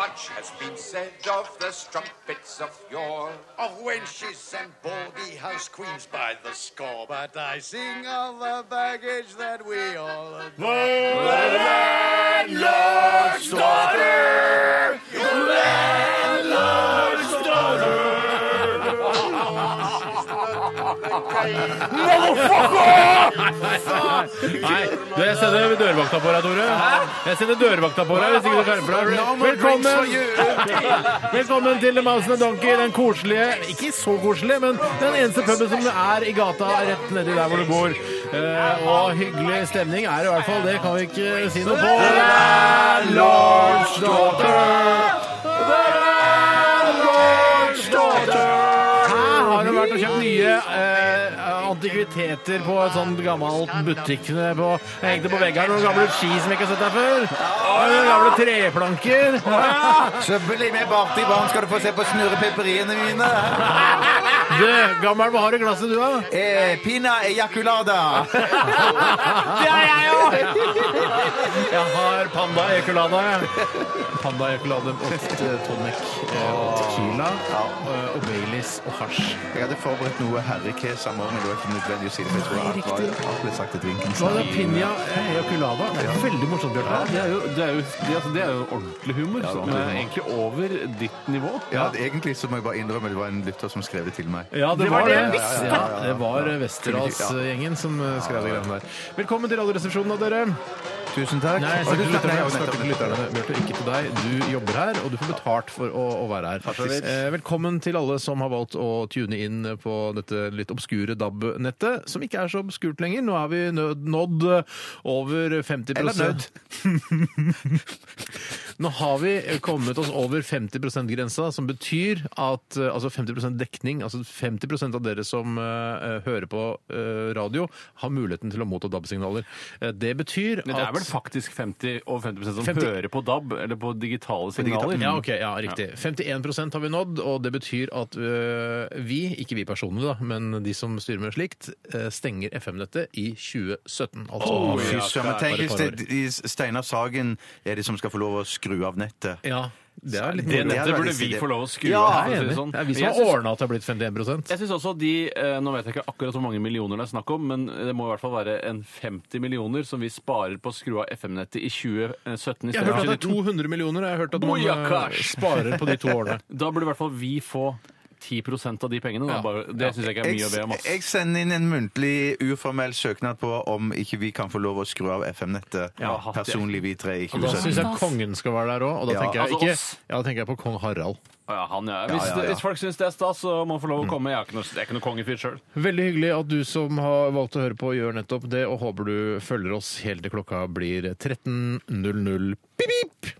Much has been said of the strumpets of yore, of wenches and baldy house queens by the score. But I sing of the baggage that we all adore. Nei, du, jeg sender dørvakta på deg, Tore. Jeg sender dørvakta på deg hvis ikke du skjerper deg. Velkommen! Velkommen til The Mouse and the Donkey, den koselige Ikke så koselige, men den eneste puben som er i gata rett nedi der hvor du bor. Eh, og hyggelig stemning er det i hvert fall. Det kan vi ikke si noe på. Her har hun vært og kjøpt nye eh, antikviteter på et sånt gammelt butikk. På, jeg hengte på veggen her noen gamle ski som jeg ikke har sett der før. Og noen gamle treplanker. Så bli med Barty Barn, skal du få se på snurrepepperiene mine. Du, gammel, hva har du i glasset du, da? Eh, pina ejaculada. Det har jeg jo! Jeg har Panda Ecolada. jeg. Panda Ecolada og tonic eh, og tequila eh, og Baileys og hasj. Jeg hadde forberedt noe herrekesam òg, men det var ikke nødvendig å si det. for Jeg tror alt var- alt ble sagt i drinken. Hva er det? Piña Eoculada? Det er veldig morsomt, Bjarte. Det, er jo- det, er jo- det, altså, det er jo ordentlig humor, som ordentlig er humor. egentlig over ditt nivå. Ja, det- egentlig så må jeg bare innrømme det var en lytter som skrev det til meg. Ja, det, var, var det jeg det. visste. Ja, ja, ja, ja. Det var Westerdals-gjengen som eh, skrev det greiene der. Velkommen til Radioresepsjonen, da, dere. Tusen takk. Nei, jeg Og snakker du- til lytterne. Nei, Jeg nettopp, snakker til nettopp. lytterne. Bjarte, ikke til deg. Du jobber her, og du får betalt for å, å være her. Eh, velkommen til alle som har valgt å tune inn på dette litt obskure DAB-nettet, som ikke er så obskurt lenger. Nå er vi nød, nådd eh, over 50 Eller nødd. Nå har vi kommet oss over 50 %-grensa, som betyr at eh, altså 50 dekning Altså 50 av dere som eh, hører på eh, radio, har muligheten til å motta DAB-signaler. Eh, det betyr Men det er at vel faktisk 50 og 50 som 50 hører på DAB, eller på digitale signaler. Ja, ok, ja, riktig. 51 har vi nådd, og det betyr at øh, vi, ikke vi personene da, men de som styrer med slikt, øh, stenger FM-nettet i 2017. Altså, Å, ja, fy søren. bare Tenk et hvis par det år. de- Steinar Sagen er de som skal få lov å skru av nettet. Ja, det er litt Det moro. er nettet burde veldig vi stilig. få lov å skru Ja, Jeg er av. for å si det enig. sånn. Det er vi som Jeg har syns- ordna at det har blitt 51 Jeg syns også de eh, Nå vet jeg ikke akkurat hvor mange millioner det er snakk om, men det må i hvert fall være en 50 millioner som vi sparer på å skru av FM-nettet i 2017 i Jeg har hørt stedet at for det er 2019. 200 millioner, og jeg har hørt at man øh, Boyakash! sparer på de to årene. Da burde i hvert fall vi få 10 av de pengene. Ja. Da. Bare, det syns jeg ikke er mye å be om. Jeg, ass. jeg sender inn en muntlig uformell søknad på om ikke vi kan få lov å skru av FM-nettet Ja, hatt det. personlig, vi tre i Da syns 2017. jeg kongen skal være der òg, og da Ja, tenker jeg, altså ikke, oss. ja, da tenker jeg på kong Harald. Å Ja, han, ja. Hvis, Ja, ja, ja. hvis folk syns det er stas, så må han Mm. få lov å komme. Jeg er ikke noe, jeg er ikke noe kongefyr sjøl. Veldig hyggelig at du som har valgt å høre på, gjør nettopp det, og håper du følger oss helt til klokka blir 13.00. Pip-pip!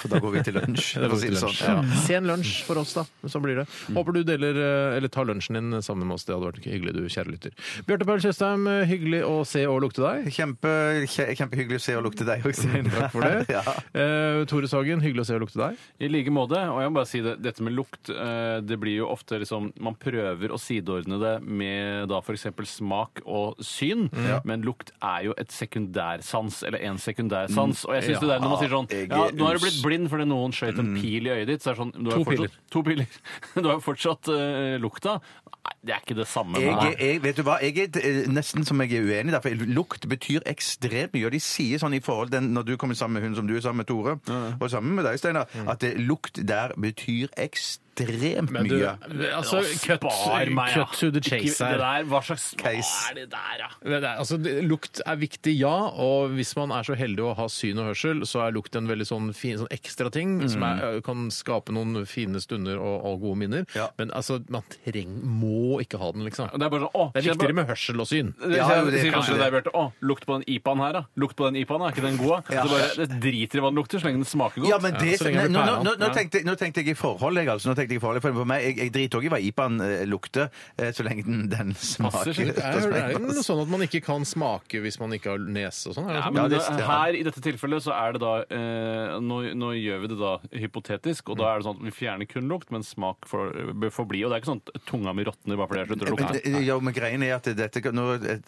For da går vi til lunsj. for å si det sånn. Ja. Mm. Sen lunsj for oss, da. Så blir det. Håper du deler, eh, eller tar lunsjen din sammen med oss. Det hadde vært hyggelig, du kjære lytter. Bjarte Paul Tjøstheim, eh, hyggelig å se og lukte deg. Kjempe, kje- kjempehyggelig å se og lukte deg også. Takk for det. Ja. Eh, Tore Sagen, hyggelig å se og lukte deg. I like måte. Og jeg må bare si det, dette med lukt eh, Det blir jo ofte liksom Man prøver å sideordne det med da f.eks. smak og syn, Mm. men lukt er jo et sekundærsans, eller en sekundærsans. Og jeg Mm. syns Ja. det der når man sier sånn Jeg Ja, er nå har du blitt us- blind fordi noen skjøt en pil i øyet ditt. Så er det sånn du har Mm. To jo fortsatt, To piler. Du har jo fortsatt eh, lukta. Nei, det er ikke det samme. Jeg, Nei. er- jeg, vet du hva, jeg er eh, nesten som jeg er uenig der, for lukt betyr ekstremt mye. Og de sier sånn i forhold til når du kommer sammen med hun som du er sammen med, Tore, og sammen med deg, Steinar, at eh, lukt der betyr ekstremt Mm. Men du, mye. altså, Å, cut, spar meg, ja. cut to the chase Ikke- her. Det der, hva slags Hva Case. er det der, ja? Det er, altså, det- lukt er viktig, ja. Og hvis man er så heldig å ha syn og hørsel, så er lukt en veldig sånn fin sånn ekstra ting som Mm. er, kan skape noen fine stunder og, og gode minner. Ja. Men altså, man treng, må ikke ha den, liksom. Det er bare sånn, å, Det er viktigere med hørsel og syn. Det Ja, sier- jo, det sier kan kanskje det. det. Bjarte. Å, lukt på den IPA-en her, da. Lukt på den IPA-en, er ikke den god? da? Ja. Så bare, det driter i hva den lukter, så lenge den smaker godt. Ja, men det, så lenge nei, det blir nå, nå, pæra. nå, nå, tenkte, jeg- nå tenkte jeg i forhold, jeg, altså. Nå tenkte egentlig ikke farlig for, for meg. Jeg, jeg driter òg i hva IPA-en eh, lukter, eh, så lenge den, den smaker. Jeg hører det er jo sånn at man ikke kan smake hvis man ikke har nese og sånn. er det Ja, sånn? men Ja, det- det, her i dette tilfellet så er det da eh, nå, nå gjør vi det da hypotetisk, og da er det sånn at vi fjerner kun lukt, men smak for, bør forbli. Og det er ikke sånn at tunga mi råtner bare fordi jeg slutter å Men lukte. det- Ja, men greien er at dette kan- nå Et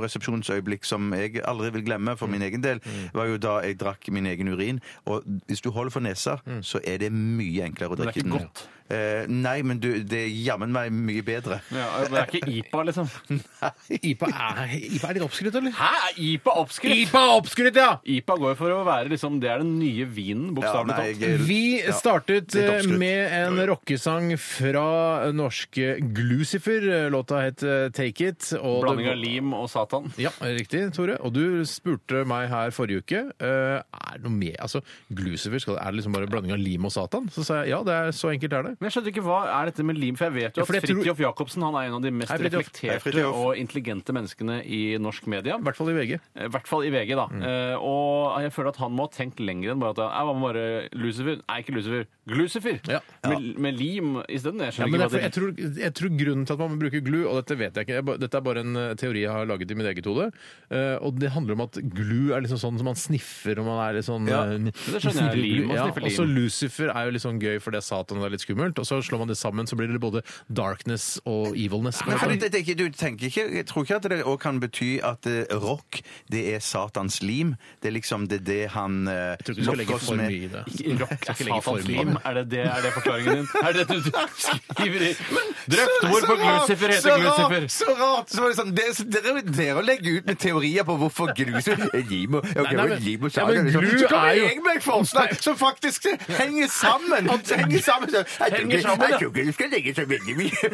radioresepsjonsøyeblikk som jeg aldri vil glemme for min Mm. egen del, var jo da jeg drakk min egen urin. Og hvis du holder for nesa, Mm. så er det mye enklere å Men det er drikke ikke den. godt. Eh, nei, men du, det er jammen meg mye bedre. Ja, men det er ikke IPA, liksom. IPA, er, IPA er litt oppskrytt, eller? Hæ? Er IPA oppskrift? IPA er oppskrytt, ja! IPA går jo for å være liksom Det er den nye vinen, bokstavelig Ja, nei, talt. jeg- Vi Ja. startet Litt eh, oppskrytt. med en rockesang fra norske Glucifer. Låta het eh, Take It. og det- Blanding av lim og Satan. Ja, riktig, Tore. Og du spurte meg her forrige uke eh, er det noe med, altså, Glucifer, skal, er det liksom bare blanding av lim og Satan? Så sa jeg ja, det er, så enkelt er det. Men jeg skjønte ikke hva er dette med lim, for jeg vet jo Ja, at for jeg tror- Fridtjof Jacobsen han er en av de mest Hei, Fridtjof. Hei, reflekterte Fridtjof. og intelligente menneskene i norsk media. I hvert fall i VG. I hvert fall i VG, da. Mm. Eh, og jeg føler at han må ha tenkt lenger enn bare at jeg var bare Lucifer. Nei, ikke Lucifer. Glucifer! Ja. Med, med lim isteden. Jeg Ja, skjønner men ikke jeg, hva jeg, det tror, jeg tror grunnen til at man bruker glu, og dette vet jeg ikke, jeg ba- dette er bare en eh, teori jeg har laget i mitt eget hode, eh, og det handler om at glu er liksom sånn som man sniffer og man er litt sånn Ja, eh, det skjønner jeg. Lim, man ja, sniffer Og så lim. Lucifer er jo litt sånn gøy for det er Satan og det er litt skummelt, og så slår man det sammen, så blir det både darkness og evilness. på en Men måte. du, det, det, er ikke- du tenker ikke, jeg tror ikke at det òg kan bety at eh, rock, det er Satans lim. Det er liksom det, er det han eh, Jeg tror ikke du skal legge for mye i det. Ikke Rock er ikke legge satans for mye. lim. Er det, det, er det forklaringen din? Er det det du skriver i Drøftemord på Glucifer heter Glucifer. Så rart! Så var det sånn, det, dere, dere legger ut med teorier på hvorfor Glucifer er Jimo. Nei, nei, men- Jimo ja, men liksom. Glu Så kommer er jo- jeg med et forslag som faktisk henger sammen! Så henger sammen, så, jeg, tror Henger ikke- sammen, ja. jeg tror ikke du skal legge så veldig mye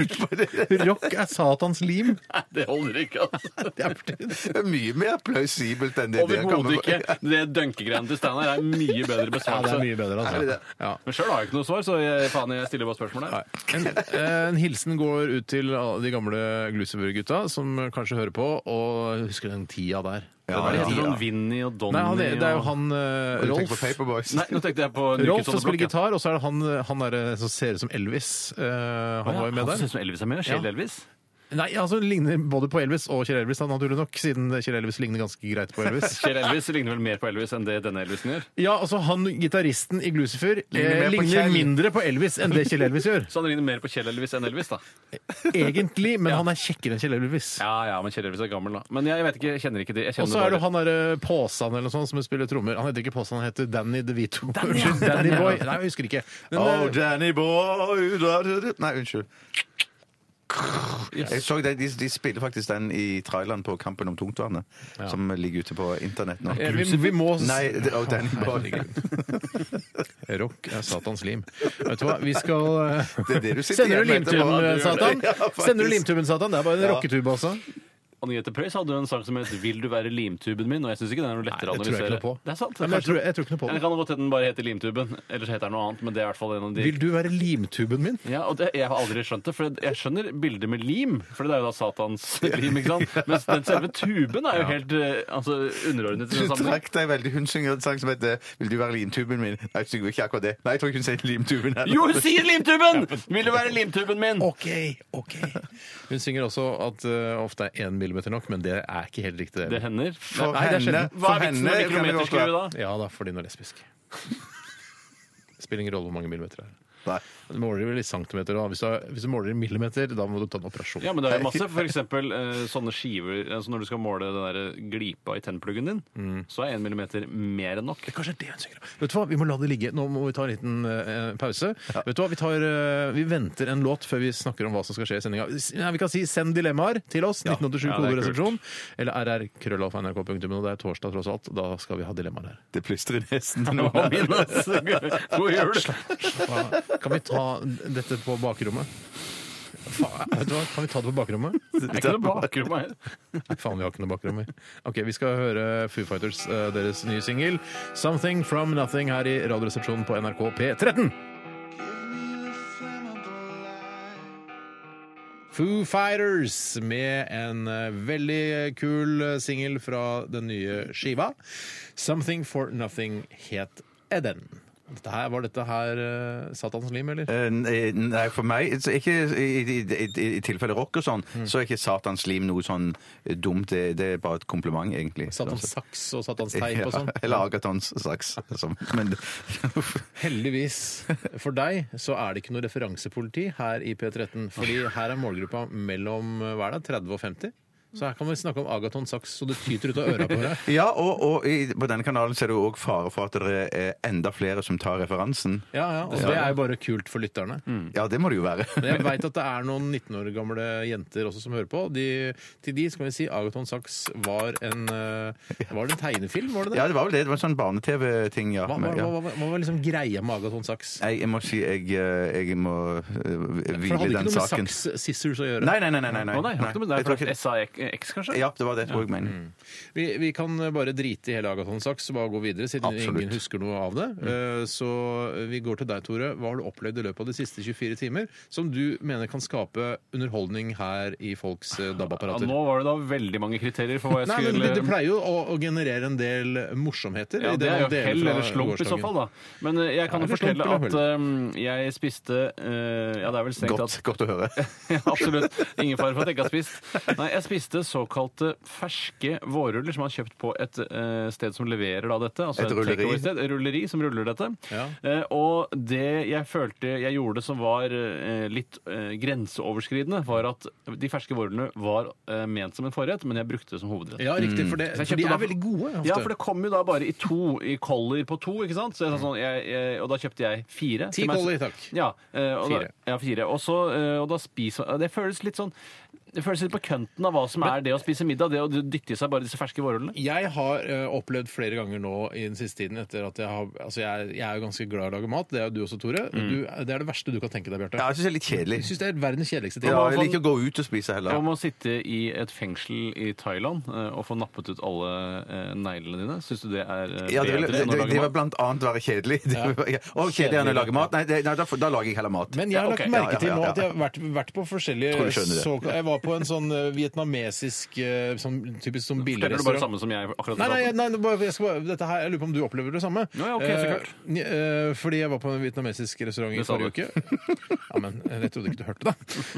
ut på det. Rock er Satans lim. Nei, det holder ikke, altså. Det er for det. Det er mye mer plausibelt enn det dere kommer Overhodet ikke. Det dønkegreiene til Steinar er mye bedre Ja, det besvarelse. er mye bedre, Er det det? altså. Ja. Men sjøl har jeg ikke noe svar, så jeg, faen, jeg stiller bare spørsmål der. En, en hilsen går ut til alle de gamle Glucifer-gutta som kanskje hører på og husker den tida der. Ja, Hva er det ja, heter ja. sånn Vinny og Donny Nei, han, er- det er jo og- han eh, Du tenker på Rolf. Paperboys. Nei, nå tenkte jeg på Rolf som Nukesodderblokk, spiller ja. gitar, og så er det han, han der, som ser ut som Elvis. eh, han var jo med Han der. synes som Elvis er med, Kjell Ja. Elvis. Nei, altså ligner både på Elvis og Kjell Elvis, da, naturlig nok, siden Kjell Elvis ligner ganske greit på Elvis. Kjell Elvis ligner vel mer på Elvis enn det denne Elvisen gjør. Ja, altså han gitaristen i Glucifer Ligner eh, mer på ligner Kjell. mindre på Elvis enn det Kjell Elvis gjør. Så han ligner mer på Kjell Elvis enn Elvis, da. Egentlig, men han er kjekkere enn Kjell Elvis. Ja, ja, men Kjell Elvis er gammel, da. Men jeg vet ikke, jeg kjenner ikke det. Jeg Og kjenner så er det bare- han derre Påsan eller noe sånt som spiller trommer. Han heter ikke Påsan, han heter Danny DeVito. Danny, ja. Unnskyld, Danny Boy. Nei, jeg husker ikke. Men, Oh, eh, Danny boy da, da, da. Nei, unnskyld. Jeg så det, de, de spiller faktisk den i traileren på Kampen om tungtvannet, som ligger ute på internett nå. eh, vi, vi må s- Nei, det, oh, Danny boy. Rock er Satans lim. Vet du hva, vi skal eh, Det er det du sitter Sender du igjen med etterpå, limtuben, at du gjør Satan? det. Ja, faktisk. Sender du limtuben, Satan? Det er bare en rocketube, altså. Anne Grete Preus hadde jo en sang som het 'Vil du være limtuben min?' Og jeg syns ikke det er noe lettere å Nei, det tror jeg analysere. ikke noe på. Det er sant. Nei, men jeg kanskje- tror- jeg tror ikke noe på det. Eller kan det godt hende den bare heter Limtuben. Ellers heter den noe annet, men det er i hvert fall en av de Vil du være limtuben min? Ja, og det, Jeg har aldri skjønt det, for jeg skjønner bildet med lim, for det er jo da Satans lim, ikke sant? Mens den selve tuben er jo helt eh, altså, underordnet i Du den sammenheng. trakk deg veldig. Hun synger en sang som heter 'Vil du være limtuben min'? Nei, hun synger ikke akkurat det. Nei, jeg tror ikke hun sier limtuben heller. Jo, hun sier limtuben! Vil du være limtuben min? OK, OK. Hun synger også at eh, ofte er én millimeter nok, men det er ikke helt riktig. Det Det. hender. For Nei, det er henne, sjelden. Hva for er vitsen med henne kan det godt mikrometerskru da? være. Ja da, fordi hun er lesbisk. Spiller ingen rolle hvor mange millimeter det er. Nei. Du måler vel i centimeter da. Hvis du, har- hvis du måler i millimeter, da må du ta en operasjon. Ja, men det er jo masse. For eksempel eh, sånne skiver altså Når du skal måle den der eh, glipa i tennpluggen din, Mm. så er 1 millimeter mer enn nok. Kanskje det er det hun synger om. Vet du hva, Vi må la det ligge. Nå må vi ta en liten eh, pause. Vet du hva, vi, tar, eh, vi venter en låt før vi snakker om hva som skal skje i sendinga. Nei, Vi kan si 'send dilemmaer' til oss. 1987 Ja, det er koderesepsjon. Eller rrkrøllalfa.nrk.no. Det er torsdag tross alt. Da skal vi ha dilemmaer her. Det plystrer i nesen til Å, noen. min, altså. God jul! Hva- Kan vi ta dette på bakrommet? Faen, Vet du hva, Kan vi ta det på bakrommet? Det er ikke noe bakrom her. Nei, Faen, vi har ikke noe bakrom. vi. Ok, Vi skal høre Foo Fighters, eh, deres nye singel 'Something From Nothing' her i Radioresepsjonen på NRK P13. Foo Fighters med en eh, veldig kul eh, singel fra den nye skiva. 'Something For Nothing' het den. Dette her, var dette her eh, Satans lim, eller? Eh, Nei, for meg så ikke, i, i, i, i, I tilfelle rock og sånn, Mm. så er ikke Satans lim noe sånn dumt. Det, det er bare et kompliment, egentlig. Satans saks og Satans teip og sånn. Ja, eller Agatons saks. Som, men, Heldigvis for deg så er det ikke noe referansepoliti her i P13. Fordi her er målgruppa mellom eh, hva er det, 30 og 50. Så her kan vi snakke om Agaton Saks så det tyter ut av øra på deg. ja, og, og i, på denne kanalen så er det jo òg fare for at det er enda flere som tar referansen. Ja, ja, og Det er jo bare kult for lytterne. Ja, det må det jo være. Men jeg veit at det er noen 19 år gamle jenter også som hører på. De, til de skal vi si Agaton Saks var en eh, Var det en tegnefilm? var det det? Ja, det var vel det. Det var en sånn barne-TV-ting, ja. Hva, hva, Men, ja. hva, hva, hva var liksom greia med Agaton Saks? Nei, jeg må si jeg, eh, jeg må eh, For det hvile i hadde ikke den noe med saken. Saks Scissors å gjøre. Nei, nei, nei. nei, nei, nei. Å nei, har ikke noe med det, Jeg tror for ikke det er det. SAX, kanskje? Ja, det var det, tror jeg Mm. mener. Vi, vi kan bare drite i hele Agaton Saks og bare gå videre, siden Absolutt. Mm. ingen husker noe av det. Eh, Så vi går til deg, Tore. Hva har du opplevd i løpet av de siste 24 timer som du mener kan skape underholdning her i folks eh, Ja, DAB-apparater? nå var det da veldig mange kriterier for hva jeg Nei, skulle men Det det pleier jo å, å generere en del morsomheter. Ja, i det er man jo deler hell fra eller slump i så gårsdagen. fall, da. Men eh, jeg kan Ja, jo eller slump fortelle eller at eh, jeg spiste eh, Ja, det er vel strengt Godt, tatt godt å høre. Ja, Absolutt. Ingen fare for at jeg ikke har spist. Nei, jeg spiste såkalte ferske vårruller som man har kjøpt på et eh, sted som leverer da dette. Altså Et rulleri. takeaway-sted, et rulleri som ruller dette. Ja. Eh, og det jeg følte jeg gjorde som var eh, litt eh, grenseoverskridende, var at de ferske vårrullene var eh, ment som en forrett, men jeg brukte det som hovedrett. Ja, Mm. riktig. For, det, Så jeg for de kjøpte er da- veldig gode. Ofte. Ja, for det kom jo da bare i to, i koller på to, ikke sant? Så jeg sa sånn, jeg, jeg, og da kjøpte jeg fire. Ti Til meg- koller, takk. Ja, eh, og Fire. Da, ja, fire. Og, så, eh, og da spiser man Det føles litt sånn det føles litt på kønten av hva som er det å spise middag, det å dytte i seg bare disse ferske vårrullene. Jeg har eh, opplevd flere ganger nå i den siste tiden etter at jeg har Altså, jeg, jeg er jo ganske glad i å lage mat. Det er jo du også, Tore. Du, det er det verste du kan tenke deg, Bjarte. Mm. Ja, jeg syns det er litt kjedelig. Jeg syns det er verdens kjedeligste ting. Ja, jeg liker å gå ut og spise heller. Om å sitte i et fengsel i Thailand eh, og få nappet ut alle eh, neglene dine, syns du det er eh, Ja, bedre det, ville, det, enn å det, det lage var mat? blant annet være kjedelig. Det var- ja. Og kjedelig enn å lage mat. Nei, det, nei da, får- da lager jeg heller mat. Men jeg har Ja, lagt ok. merke Ja, ja, til ja, nå ja. at jeg har vært, vært på forskjellige Tror du skjønner det. såkal- Jeg var på en sånn eh, vietnamesisk eh, sånn, typisk sånn Forteller du bare det billigrestaurant. samme som jeg akkurat Nei, nei, fortalte? jeg- nei det bare- jeg, skal bare, dette her, jeg lurer på om du opplever det samme. Nå, ja, ok, så Eh, kult. ni- eh, fordi jeg var på en vietnamesisk restaurant i Det sa forrige uke. Ja, men jeg trodde ikke du hørte det.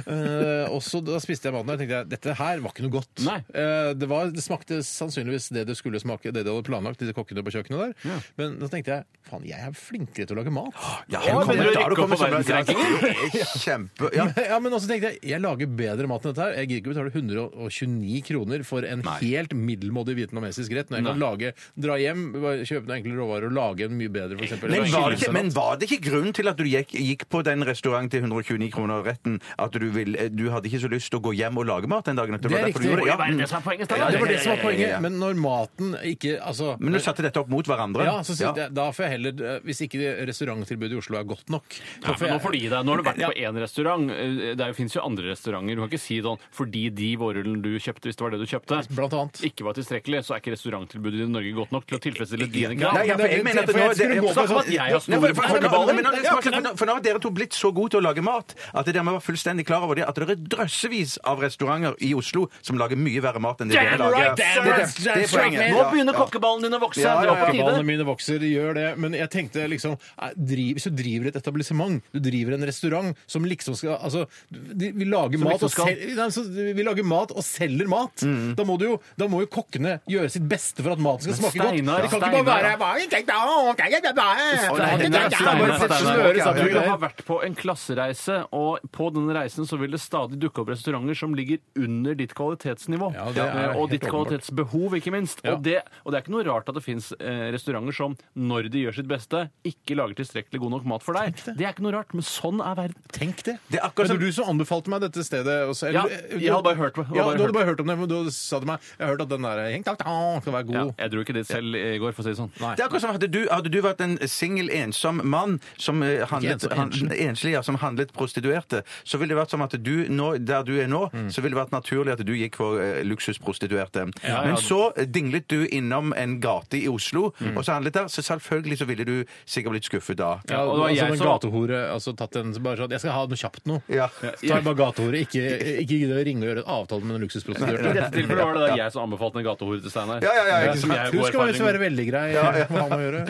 Eh, og så da spiste jeg maten og tenkte jeg, dette her var ikke noe godt. Nei. Eh, det, var, det smakte sannsynligvis det det skulle smake, det de hadde planlagt, disse kokkene på kjøkkenet der. Men da tenkte jeg, faen, jeg er flinkere til å lage mat. Ja, Å, kommer- men du da rykker har opp kommet på så langt. verdensrankingen. Ja, Kjempe... Ja. Ja. men også tenkte jeg jeg lager bedre mat enn dette her. Jeg gidder ikke betale 129 kroner for en helt middelmådig vietnamesisk rett når jeg kan Nei. lage, dra hjem, bare kjøpe noen enkle råvarer og lage en mye bedre, f.eks. Men var, det ikke, men var det ikke grunnen til at du gikk, gikk på den restauranten til 129 kroner retten, at du, vil, du hadde ikke så lyst til å gå hjem og lage mat den dagen? at Det er var derfor du riktig. gjorde Det må jo Ja, mm. Det som er poenget, Ja, Steinar. det var det som var Ja, ja, ja, poenget. ja. Men når maten ikke Altså Men du satte dette opp mot hverandre? ja, så, synes Ja. jeg- Da får jeg heller eh, Hvis ikke restauranttilbudet i Oslo er godt nok så Ja, men nå får du gi deg. Nå har du vært Ja. på én restaurant. Eh, Det fins jo andre restauranter. Du kan ikke si sånn fordi de vårrullene du kjøpte, hvis det var det du kjøpte, Blant annet. ikke var tilstrekkelig, så er ikke restauranttilbudet i Norge godt nok til å tilfredsstille dine Nei, krav. ja, for jeg mener at nå- For jeg skulle det- gå på for- sånn at jeg har store Nei, for- for- for- kokkeballer. men nå- for nå- For nå har dere to blitt så gode til å lage mat at dere må være fullstendig klar over det at det er drøssevis av restauranter i Oslo som lager mye verre mat enn det dere Damn lager. right, damn right, Det- det- det er that's right, poenget. man. Nå Ja, begynner ja. kokkeballene dine å vokse! Ja, Det var på ja, Ballene tide. mine vokser, gjør det. Men jeg tenkte liksom eh, driv, Hvis du driver et etablissement, du driver en restaurant som liksom skal Altså, de, vi, lager mat liksom og skal- Mm. sel- nei, så vi lager mat og selger mat. Da, må du jo, da må jo kokkene gjøre sitt beste for at maten skal smake Steinar, godt. De kan ikke Steinar. bare være «Hva er det jeg tenkte? Å, ok, jeg tenkte, å, nei, jeg nei, tenkte, å». Steinar, Bare plutselig Steinar. høres at Du du- har vært på en klassereise, og på denne reisen så vil det stadig dukke opp restauranter som ligger under ditt kvalitetsnivå. Ja, det er Eh, helt og ditt åpenbart. kvalitetsbehov, ikke minst. Ja. Og, det, og det er ikke noe rart at det fins eh, restauranter som, når de gjør sitt beste, ikke lager tilstrekkelig god nok mat for deg. Det er ikke noe rart, men sånn er verden. Tenk det. Det er akkurat Men som- det var du som anbefalte meg dette stedet. Også, Ja, jeg hadde bare hørt på- jeg hadde Ja, bare du hadde hørt. bare hørt om det, men du sa til meg Jeg har hørt at den der «Heng, tak, tak» skal være god. Ja, jeg dro ikke dit selv i går, for å si det sånn. Oh. Nei. Det er akkurat som hadde du, hadde du vært en singel, ensom mann som eh, handlet, ensom, han, enslig. enslig, ja, som handlet prostituerte, så ville det vært som at du nå, der du er nå, så ville det vært naturlig at du gikk for eh, luksusprostituerte. Ja, ja. Men så eh, dinglet du innom en gate i Oslo, og så handlet der, så selvfølgelig så ville du sikkert blitt skuffet da. Ja, og og det var altså, jeg en som- gatehore altså, tatt en, bare sånn, Jeg skal ha noe kjapt nå. Ja. Så tar jeg bare gatehore, ikke, ikke gidde å ringe og gjøre en avtale med en luksusprostituert. I dette tilfellet var det da jeg som anbefalte en gatehore til Steinar. Ja, ja, ja, ikke Som sant. jeg har Du god skal erfaring visst med. være veldig grei. Hva har med å gjøre?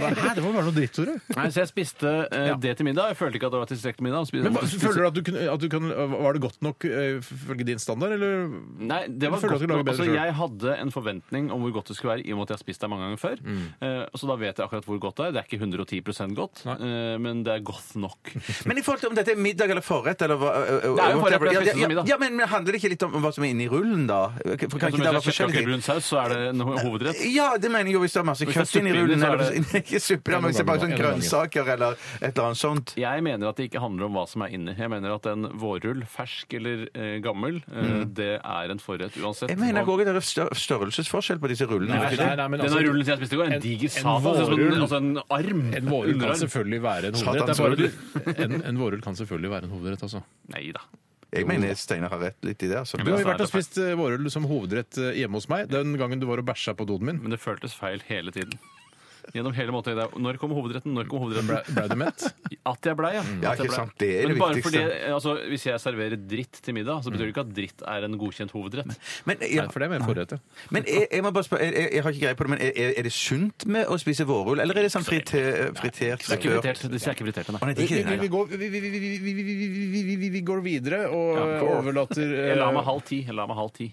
Nei, det må være noe dritt, Tore. Nei, så jeg spiste eh, det til middag. Jeg følte ikke at det var tilstrekkelig middag. Spiste- Men hva, føler du at du kunne, at du kunne Var det godt nok eh, ifølge din standard, eller? Nei, det var Eller føler du at godt du lager nok. bedre Altså, selv? jeg hadde en forventning om hvor godt det skulle være, i og med at jeg har spist der mange ganger før. Mm. Eh, så da vet jeg akkurat hvor godt det er. Det er ikke 110 godt, eh, men det er godt nok. Altså, Men i forhold til om dette er middag eller forrett eller hva Det forrett, for jeg spiste ja, middag. ja, men men handler det ikke litt om hva som er inni rullen, da? For Altså, kan ikke det med være kjøttkaker forskjellig? brun saus, så er det en ho- hovedrett. Ja, det mener jeg jo hvis det er masse Hvis det er kjøtt inni suppe inni, rullen. så er Eller, det- ikke suppe, da, men hvis det er bare sånn grønnsaker eller et eller annet sånt. Jeg mener at det ikke handler om hva som er inni. Jeg mener at en vårrull, fersk eller eh, gammel, eh, Mm. det er en forrett uansett. Jeg mener Hva- òg det er stør- størrelsesforskell på disse rullene. Nei, vet du nei, ikke? nei, men Denne altså- rullen som jeg spiste i går, en en diger satan. det ser ut som vårrull. En, altså en arm. En vårrull kan altså- Underarm. selvfølgelig være en hovedrett. Det Satans er bare du, en, en vårrull kan selvfølgelig være en hovedrett, altså. Nei da. Jeg mener Steinar har rett litt i det. Altså. Du har jo altså, vært og er det spist eh, vårrull som hovedrett eh, hjemme hos meg den gangen du var og bæsja på doen min. Men det føltes feil hele tiden. Gjennom hele måltidet. Når kommer hovedretten? Når kommer hovedretten? Ble, ble du mett? At jeg blei, ja. At Mm. Ja, jeg ikke blei. sant? Det er det Men bare viktigste. Fordi, altså, hvis jeg serverer dritt til middag, så betyr det ikke at dritt er en godkjent hovedrett. Men, ja, Nei, for det er mer forrett, ja. men jeg, jeg må bare spørre, jeg, jeg- jeg har ikke greie på det, men er, er- er det sunt med å spise vårrull, eller er det sånn frite, fritert? Altså, Det er ikke invitert, det er ikke invitert til, Å, nei. nei, det er Vi, ikke det, nei. går, vi, vi, vi, vi, vi, vi, vi, vi, vi- vi går videre og Ja, eh, går. overlater eh, Jeg la meg halv ti. Jeg la meg halv ti.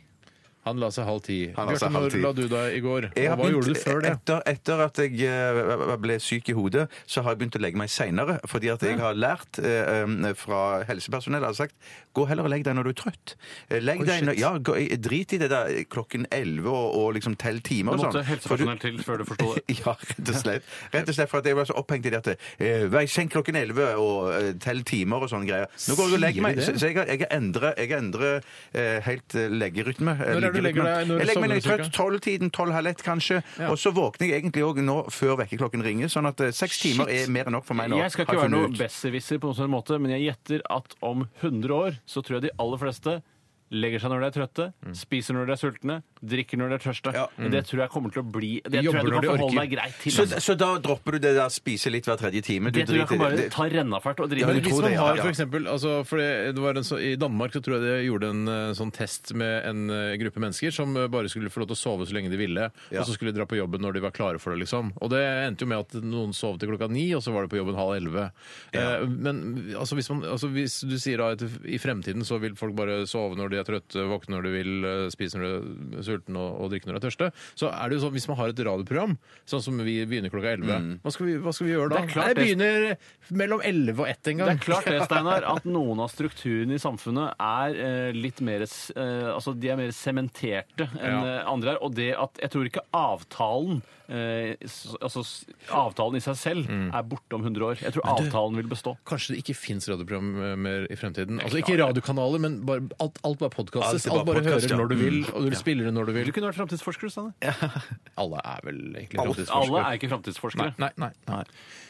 Han la seg halv ti. Han la seg Bjarte, halv når ti. la du deg i går? Og Jeg hva har begynt- gjorde du før det? Etter, etter at jeg eh, ble syk i hodet, så har jeg begynt å legge meg seinere. Fordi at jeg har lært eh, um, fra helsepersonell har sagt gå heller og legg deg når du er trøtt. Eh, Legg deg når, ja, gå, Drit i det der klokken 11 og, og liksom tell Det timer og måtte sånn. For du- helsepersonell til før du forsto det. ja, rett og slett. Rett og slett for at jeg var så opphengt i det at eh, vær senk klokken 11 og eh, tell timer og sånne greier. Nå går jeg og legger meg, Sier de så, det? så jeg har- jeg har endret- jeg har endret eh, helt eh, leggerytme. eh, Når er det du liggerytme. legger deg? Når Jeg legger meg når jeg er sovner du trøtt, tolv-tiden, tolv-halv ett kanskje. Og så våkner jeg egentlig òg nå før vekkerklokken ringer, sånn at eh, seks timer er mer enn nok for meg nå. Jeg skal har ikke jeg være noe funnet ut. besserwisser, på noen sånn måte, men jeg gjetter at om 100 år så tror jeg de aller fleste legger seg når de er trøtte, spiser når de er sultne, drikker når de er tørste. Mm. Ja. Det tror jeg kommer til å bli Det tror jobber jeg du når kan de orker. forholde deg greit til. så, altså. så da dropper du det der spise litt hver tredje time? Du Det tror jeg driter kan i bare det. ta rennafart og Ja, drive med. men sånn Hvis man det, ja, har ja. for eksempel, altså, for det, det var en, så, I Danmark så tror jeg de gjorde en eh, sånn test med en eh, gruppe mennesker som eh, bare skulle få lov til å sove så lenge de ville, Ja. og så skulle de dra på jobben når de var klare for det. liksom. Og Det endte jo med at noen sov til klokka ni, og så var de på jobben halv elleve. Eh, men altså, hvis, man, altså, hvis du sier da at i fremtiden så vil folk bare sove når de er trøtte, våkne når de vil, eh, spise når de er sultne og, og drikke når de er tørste, så er det jo sånn hvis man har et radioprogram, sånn som vi begynner klokka elleve, hva, skal vi- hva skal vi gjøre da? Mm. Det er klart Nei, det- begynner mellom elleve og ett en gang. Det er klart det, Steinar, at noen av strukturene i samfunnet er eh, litt mer s- eh, Altså, de er mer sementerte enn Ja. eh, andre er. Og det at Jeg tror ikke avtalen eh, s- Altså, s- avtalen i seg selv er borte om 100 år. Jeg tror avtalen vil bestå. Kanskje det ikke fins radioprogram eh, mer i fremtiden? Altså Ikke radiokanaler, men bare, alt, alt bare Alt podkastes. er Alt, bare bare hører podcast, ja. når du vil, og du spiller det når du Du vil. kunne vært framtidsforsker, Steinar. Alle er vel egentlig Alle- Alle framtidsforskere. er ikke framtidsforskere. Nei, nei, nei.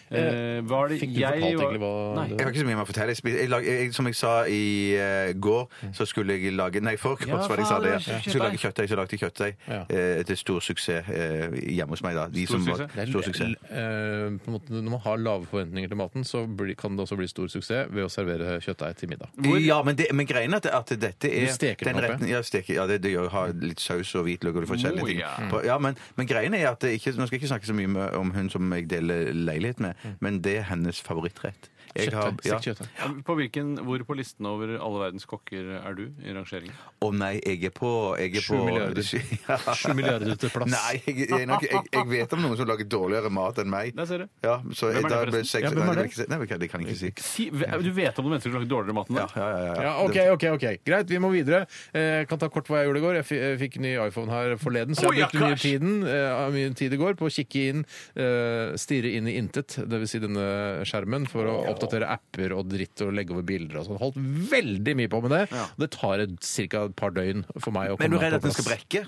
Eh, hva er det Fikk du jeg fortalt var- egentlig hva Nei. det- Jeg har ikke så mye mer å fortelle. Jeg spiste, jeg lag, jeg, som jeg sa i eh, går, så skulle jeg lage Nei, forkårs, Ja, var det jeg sa faen, det. det var Jeg kjøttdeig. skulle lage kjøttdeig, så lagde jeg kjøttdeig. Ja. Eh, til stor suksess eh, hjemme hos meg, da. De Stor som var- suksess? Det er, Stor suksess. eh, på en måte, når man har lave forventninger til maten, så blir, kan det også bli stor suksess ved å servere kjøttdeig til middag. Ja, men, det, men greien er at, at dette Du er steker den den opp, retten, ja, steker, ja det, det gjør ha litt saus og hvitløk og du får forskjellige Oh, ting. ja. På, ja, men, men greien er at det ikke, Nå skal jeg ikke snakke så mye med, om hun som jeg deler leilighet med, men det er hennes favorittrett. Jeg har- Kjøttdeig. ja. Stekt kjøttdeig. Eh, På hvilken, hvor på listen over alle verdens kokker er du i rangeringen? Å nei, jeg er på jeg er Sju på- milliarder. Ja. Sju milliarder til plass. Nei, jeg, jeg, er nok, jeg, jeg vet om noen som lager dårligere mat enn meg. Der ser du. Ja, så Hvem er det da ble forresten? seks- Ja, hvem er nei, det det? vil jeg ikke si. Nei, det kan jeg ikke si. Si, eh, du vet om noen mennesker som lager dårligere mat enn Ja, deg? ja, ja, ja. Ja, OK, OK. ok. Greit, vi må videre. Eh, Jeg kan ta kort hva jeg gjorde i går. Jeg fi- eh, fikk ny iPhone her forleden, så Oi, jeg ja, brukte mye, kars! tiden, eh, mye tid i går på å kikke inn, eh, stirre inn i intet, dvs. Si denne skjermen, for å oppdatere apper og dritt og legge over bilder og sånn. Holdt veldig mye på med det. Det tar ca. et par døgn for meg å komme Men er du meg redd på at den skal plass. brekke?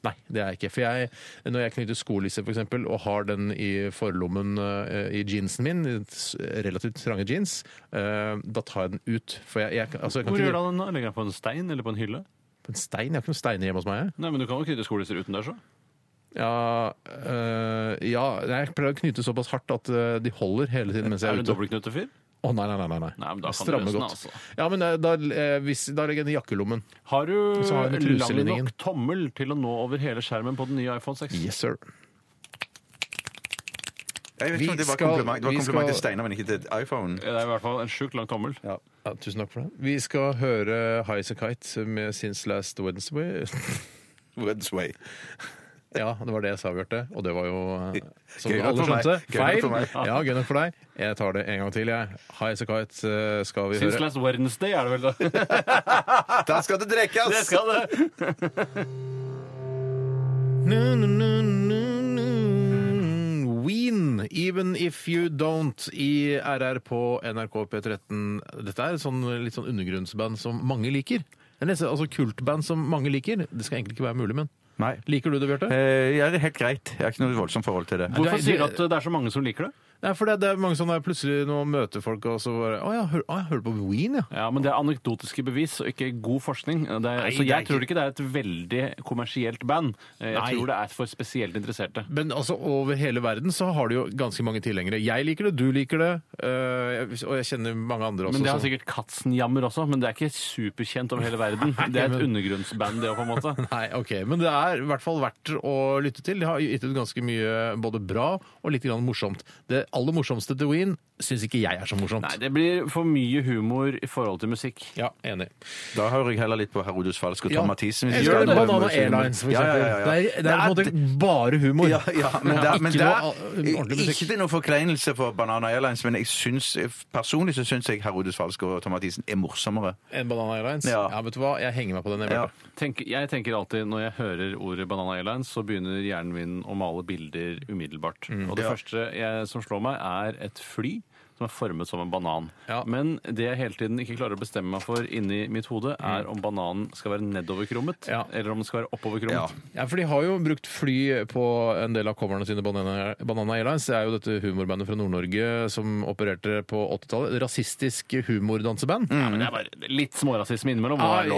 Nei, det er jeg ikke. For jeg, når jeg knytter skolisse for eksempel, og har den i forlommen eh, i jeansen min, i s- relativt trange jeans, eh, da tar jeg den ut. For jeg, jeg, altså, jeg kan Hvor ikke gjør du av den? da? Legger den på en stein eller på en hylle? på en stein? Jeg har ikke noen steiner hjemme hos meg. jeg. Nei, men Du kan jo knytte skolisser utendørs òg. Ja, eh, øh, ja, jeg pleier å knyte såpass hardt at øh, de holder hele tiden mens jeg Er er du ute. dobbeltknutefyr? Å nei, nei, nei. nei. Nei, men da kan du Stramme løse den, godt. altså. Ja, men eh, da, eh, hvis, da legger jeg den i jakkelommen. Har du Så har jeg den i lang nok truselinningen. tommel til å nå over hele skjermen på den nye iPhone 6? Yes, sir. Jeg vet Vi ikke om det var skal- kompliment, det var vi kompliment skal- til Steinar, men ikke til iPhone. Det er i hvert fall en sjukt lang tommel. Ja, tusen takk for det. Vi skal høre Highasakite med Since Last Wednesday. Wednesday. Ja, det var det jeg sa, Bjarte. Og det var jo, eh, som Gøy nok alle for meg. skjønte, Gøy nok feil. for meg. Ja, gøy nok for deg. Jeg tar det en gang til, jeg. Highasakite eh, skal vi Since høre. last Wednesday er det vel da? Da skal det drikkes! Det skal det! Nu, nu, nu, nu, nu. Ween, even if you don't, i RR på NRK P13. Dette er et sånn, litt sånn undergrunnsband som mange liker. Det er nesten, altså kultband som mange liker. Det skal egentlig ikke være mulig, men Nei. liker du det, Bjarte? Eh, ja, det er helt greit. Jeg har ikke noe voldsomt forhold til det. Hvor- Hvorfor sier du at det er så mange som liker det? Nei, for det, det er mange sånne plutselig når man møter folk og så bare Å ja, hør, å, jeg hører på Ween, ja. Ja, men Det er anekdotiske bevis og ikke god forskning. Det er, Nei, så det er Jeg tror ikke- ikke det er et veldig kommersielt band. Jeg Nei. tror det er for spesielt interesserte. Men altså, over hele verden så har du jo ganske mange tilhengere. Jeg liker det, du liker det, øh, jeg- og jeg kjenner mange andre også. Men Det har som- sikkert Katzenjammer også, men det er ikke superkjent over hele verden. Det er et undergrunnsband, det òg, på en måte. Nei, ok. Men det er i hvert fall verdt å lytte til. De har gitt ut ganske mye både bra og litt grann morsomt. Det aller morsomste til Ween syns ikke jeg er så morsomt. Nei, det blir for mye humor i forhold til musikk. Ja, enig. Da hører jeg heller litt på Herodus Falsk og Tom Mathisen. hvis Jeg jeg elsker skal prøve Banana meg selv. Airlines, for Ja, ja, eksempel. ja, ja. Det er, det er på en måte bare humor. Ja, ja, men Ja, der, men ikke der noe ordentlig musikk. Ikke til noen forkleinelse for Banana Airlines, men jeg syns, personlig så syns jeg Herodus Falsk og Tom Mathisen er morsommere. En Banana Airlines? Ja. Ja. vet du hva? Jeg henger meg på den. jeg, Ja. Bjarte. Tenk, jeg tenker alltid Når jeg hører ordet Banana Airlines, så begynner hjernen min å male bilder umiddelbart. og det ja. første jeg, som slår meg, er et fly som er formet som en banan. Ja. Men det jeg hele tiden ikke klarer å bestemme meg for inni mitt hode, er om bananen skal være nedoverkrummet, Ja. eller om den skal være oppoverkrummet. Ja, for de har jo brukt fly på en del av coverne sine Banana, Banana Airlines. Det er jo dette humorbandet fra Nord-Norge som opererte på 80-tallet. Rasistisk humordanseband. Mm. Ja, men det er bare litt smårasisme innimellom. må Ja, være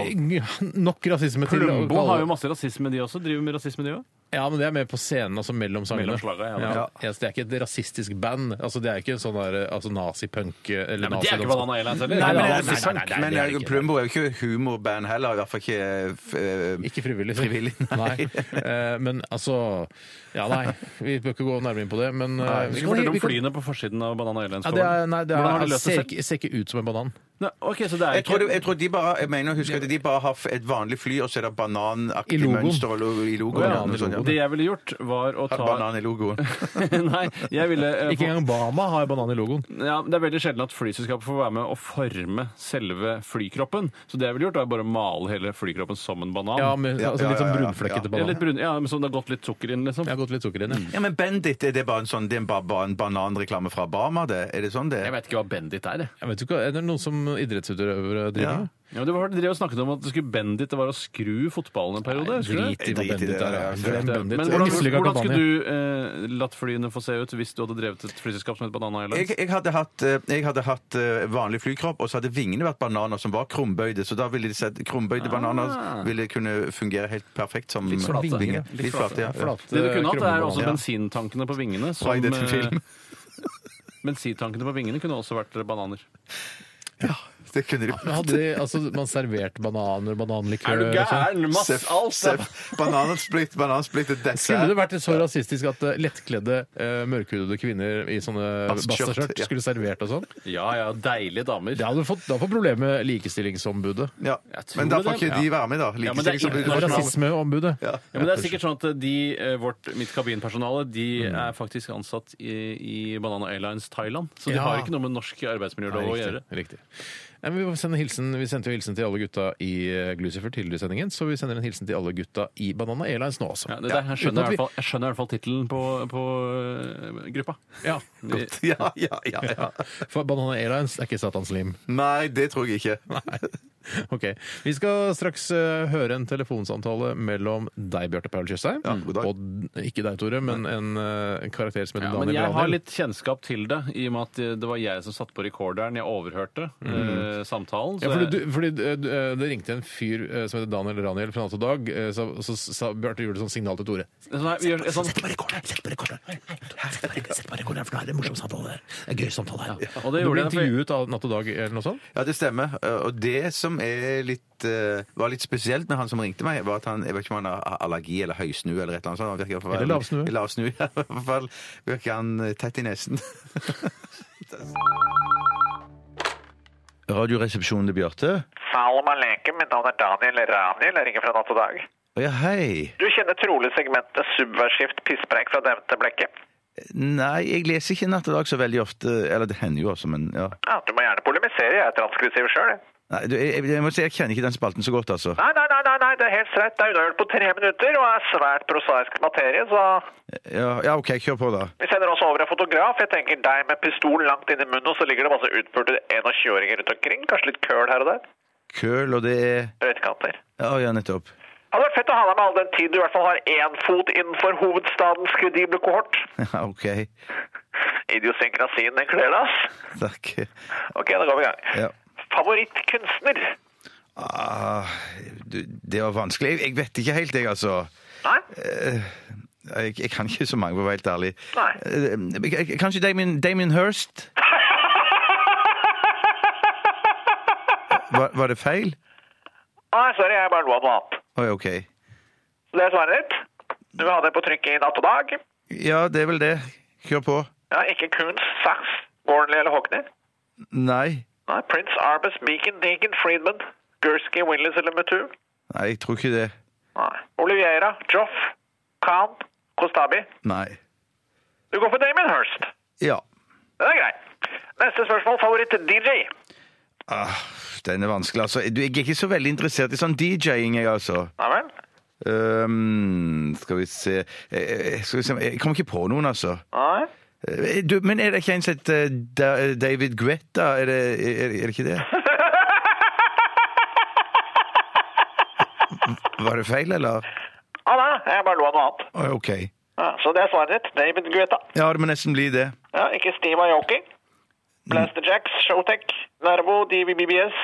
lov. nok rasisme til å Plumbo kalle- har jo masse rasisme, de også. Driver med rasisme, de òg. Ja, men det er mer på scenen, altså mellom sangene. Mellom slaga, ja. ja. Ja, så det er ikke et rasistisk band. Altså, det er ikke en sånn der, altså, nazipunk eller Men altså, det er ikke nazidanse- Banana Airlines Nei, heller. nei, Men, nei, det nei, nei, er nei, det er men eh, ikke. Plumbo er jo ikke humorband heller. I hvert fall ikke eh, Ikke frivillig. så. Frivillig, nei. Eh, men altså Ja, nei. Vi bør ikke gå nærmere inn på det, men eh, Vi skal fortelle om flyene på forsiden av Banana Airlines. ja, det er, nei, det er, Hvordan har de løst det ser, selv? ikke, ser ikke ut som en banan. Nei, ok, så det er Jeg tror, ikke... det, jeg tror de bare jeg mener, å huske at de bare har et vanlig fly, og så er det bananaktig I logoen. mønster og logo, i logoen. Ja, ja, noe i sånt, ja. Det jeg ville gjort, var å ta Banan i logoen. Nei, jeg ville eh, Ikke engang Bama har banan i logoen. ja, Det er veldig sjelden at flyselskapet får være med å forme selve flykroppen. Så det jeg ville gjort, er bare å male hele flykroppen som en banan. Ja, med, Ja, altså, litt ja, sånn ja, ja, brunflekkete ja. Ja, banan. litt brun, ja, men Som det har gått litt sukker inn, liksom. Jeg har gått litt sukker inn, ja. Ja, men Bendit, er det bare en sånn Det er bare, bare en bananreklame fra Bama, det? Er det sånn det? Jeg er? vet ikke hva Bendit er. jeg. Jeg vet ikke, er det noen som idrettsutøvere driver Ja. med? Ja, men det var, de drev og snakket om at det skulle Bendit det var å skru fotballen en periode. husker du det? Drit i hva Drit i Bendit det, er. ja, ja. ja. Glem Bendit. Men hvordan, Mislykka hvordan kampanje. skulle du eh, latt flyene få se ut hvis du hadde drevet et flyselskap som het Banana Airlines? Jeg, jeg, hadde hatt, eh, jeg hadde hatt eh, vanlig flykropp, og så hadde vingene vært bananer som var krumbøyde. Så da ville de sett krumbøyde bananer ville kunne fungere helt perfekt som Ah. Litt flate. vinger. Litt Litt flate, ja. Flate Det du kunne hatt, er krummebanan. også Ja. bensintankene på vingene. Fra i dette eh, film. bensintankene på vingene kunne også vært bananer. Det kunne de. Men Hadde de, altså, man servert bananer, bananlikør og sånn? Seff, seff. Banansplitt, banansplitt, og Skulle det dessert. vært så rasistisk at eh, lettkledde, eh, mørkhudede kvinner i sånne Bastskjørt, basteskjørt ja. skulle servert og sånn? Ja, ja, deilige damer. Det hadde du fått, da får problemet med likestillingsombudet. Ja. Jeg tror Men da det, får ikke ja. de være med, da. men det er Likestillingsombudet. ikke- får ikke være med. Rasismeombudet. Ja. Ja, men det er sikkert sånn at de, eh, vårt, Mitt kabinpersonale de Mm. er faktisk ansatt i, i Banana Airlines Thailand. Så de Ja. har ikke noe med norsk arbeidsmiljølov å gjøre. Riktig. riktig. Nei, men vi, får sende hilsen, vi sendte jo hilsen til alle gutta i eh, Glucifer tidligere i sendingen, så vi sender en hilsen til alle gutta i Banana Airlines nå også. Ja, det der, jeg, Uten skjønner at i vi- hvert fall, jeg skjønner i hvert fall tittelen på, på eh, gruppa. Ja, Vi- Ja, ja, ja, ja. for Banana Airlines er ikke Satans lim. Nei, det tror jeg ikke. Ok. Vi skal straks eh, høre en telefonsamtale mellom deg, Bjarte Paul Tjøstheim, god dag. og d- ikke deg, Tore, men en, eh, en karakter som heter Ja, men Daniel jeg har Brandel. litt kjennskap til det, i og med at eh, det var jeg som satt på recorderen. Jeg overhørte eh, samtalen. Mm. Ja, så fordi, jeg- du, fordi eh, du, eh, Det ringte en fyr eh, som heter Daniel Raniel fra Natt og Dag, eh, så, så sa Bjarte gjorde sånn signal til Tore. Sånn her, vi gjør sånn, og det Du ble gjorde jeg. for- intervjuet av Natt og Dag eller noe sånt? Ja, det stemmer. Eh, Og det som er litt, eh, var litt spesielt med han som ringte meg, var at han jeg vet ikke om han har allergi eller høysnue eller et eller annet sånt. Han virker i hvert fall- Eller lavsnue. Lavsnue, ja. I hvert fall virker han eh, tett i nesen. Radioresepsjonen til Bjarte. Salam aleikum, mitt navn er Daniel Raniel, jeg ringer fra Natt og Dag. Ja, hei. Du kjenner trolig segmentet subversivt pisspreik fra nevnte blekket. Nei, jeg leser ikke Natt og Dag så veldig ofte. Eller det hender jo også, men ja. Ja, du må gjerne polemisere, jeg er transkrissiv sjøl. Nei, du, jeg, jeg må si jeg kjenner ikke den spalten så godt, altså. Nei, nei, nei, nei, nei, det er helt streit. Det er unnagjort på tre minutter og er svært prosaisk materie, så Ja, ja OK, kjør på, da. vi sender også over en fotograf. Jeg tenker deg med pistol langt inn i munnen, og så ligger det masse utpulte 21-åringer rundt omkring. Kanskje litt køl her og der. Køl, og det er Røytekanter. Ja, ja, nettopp. Hadde vært fett å ha deg med all den tid du i hvert fall har én fot innenfor hovedstadens kredible kohort. Ja, OK. Idiosynkrasien, den kler deg, ass. Takk. Ok, da går vi i gang. Ja. Favorittkunstner? Ah, du, det var vanskelig. Jeg, jeg vet ikke helt, jeg, altså. Eh, Nei? Jeg, jeg kan ikke så mange, for å være helt ærlig. Nei. Eh, jeg- jeg- Kanskje Damien, Damien Hirst? Var, var det feil? Nei, sorry, jeg bare lo av noe annet. Oi, OK. Så det er svaret ditt. Du vil ha det på trykk i natt og dag. Ja, det er vel det. Kjør på. Ja, ikke Kunz, Sachs, Gornley eller Hockney. Nei. Nei, Prince Arbus, Meakin, Deacon, Friedman, Gursky, Willis eller Mutu. Nei, jeg tror ikke det. Nei. Oliveira, Joff, Khan, Kostabi. Nei. Du går for Damien Hirst. Ja. Det er greit. Neste spørsmål, favoritt-DJ. Ah, den er vanskelig, altså. Du, jeg er ikke så veldig interessert i sånn DJ-ing, jeg, altså. Nei vel? Ehm, skal vi se Eh, Skal vi se Jeg kommer ikke på noen, altså. Nei. Eh, Du, men er det ikke en som heter eh, Da- David Guetta? Er det, er, er det ikke det? Var det feil, eller? Ah, nei, jeg bare lo av noe annet. Å, OK. Ja, så det er svaret ditt. David Guetta. Ja, det må nesten bli det. Ja, ikke Steve Aoki. Blaster Jacks, Showtech, Nervo, DVBBS,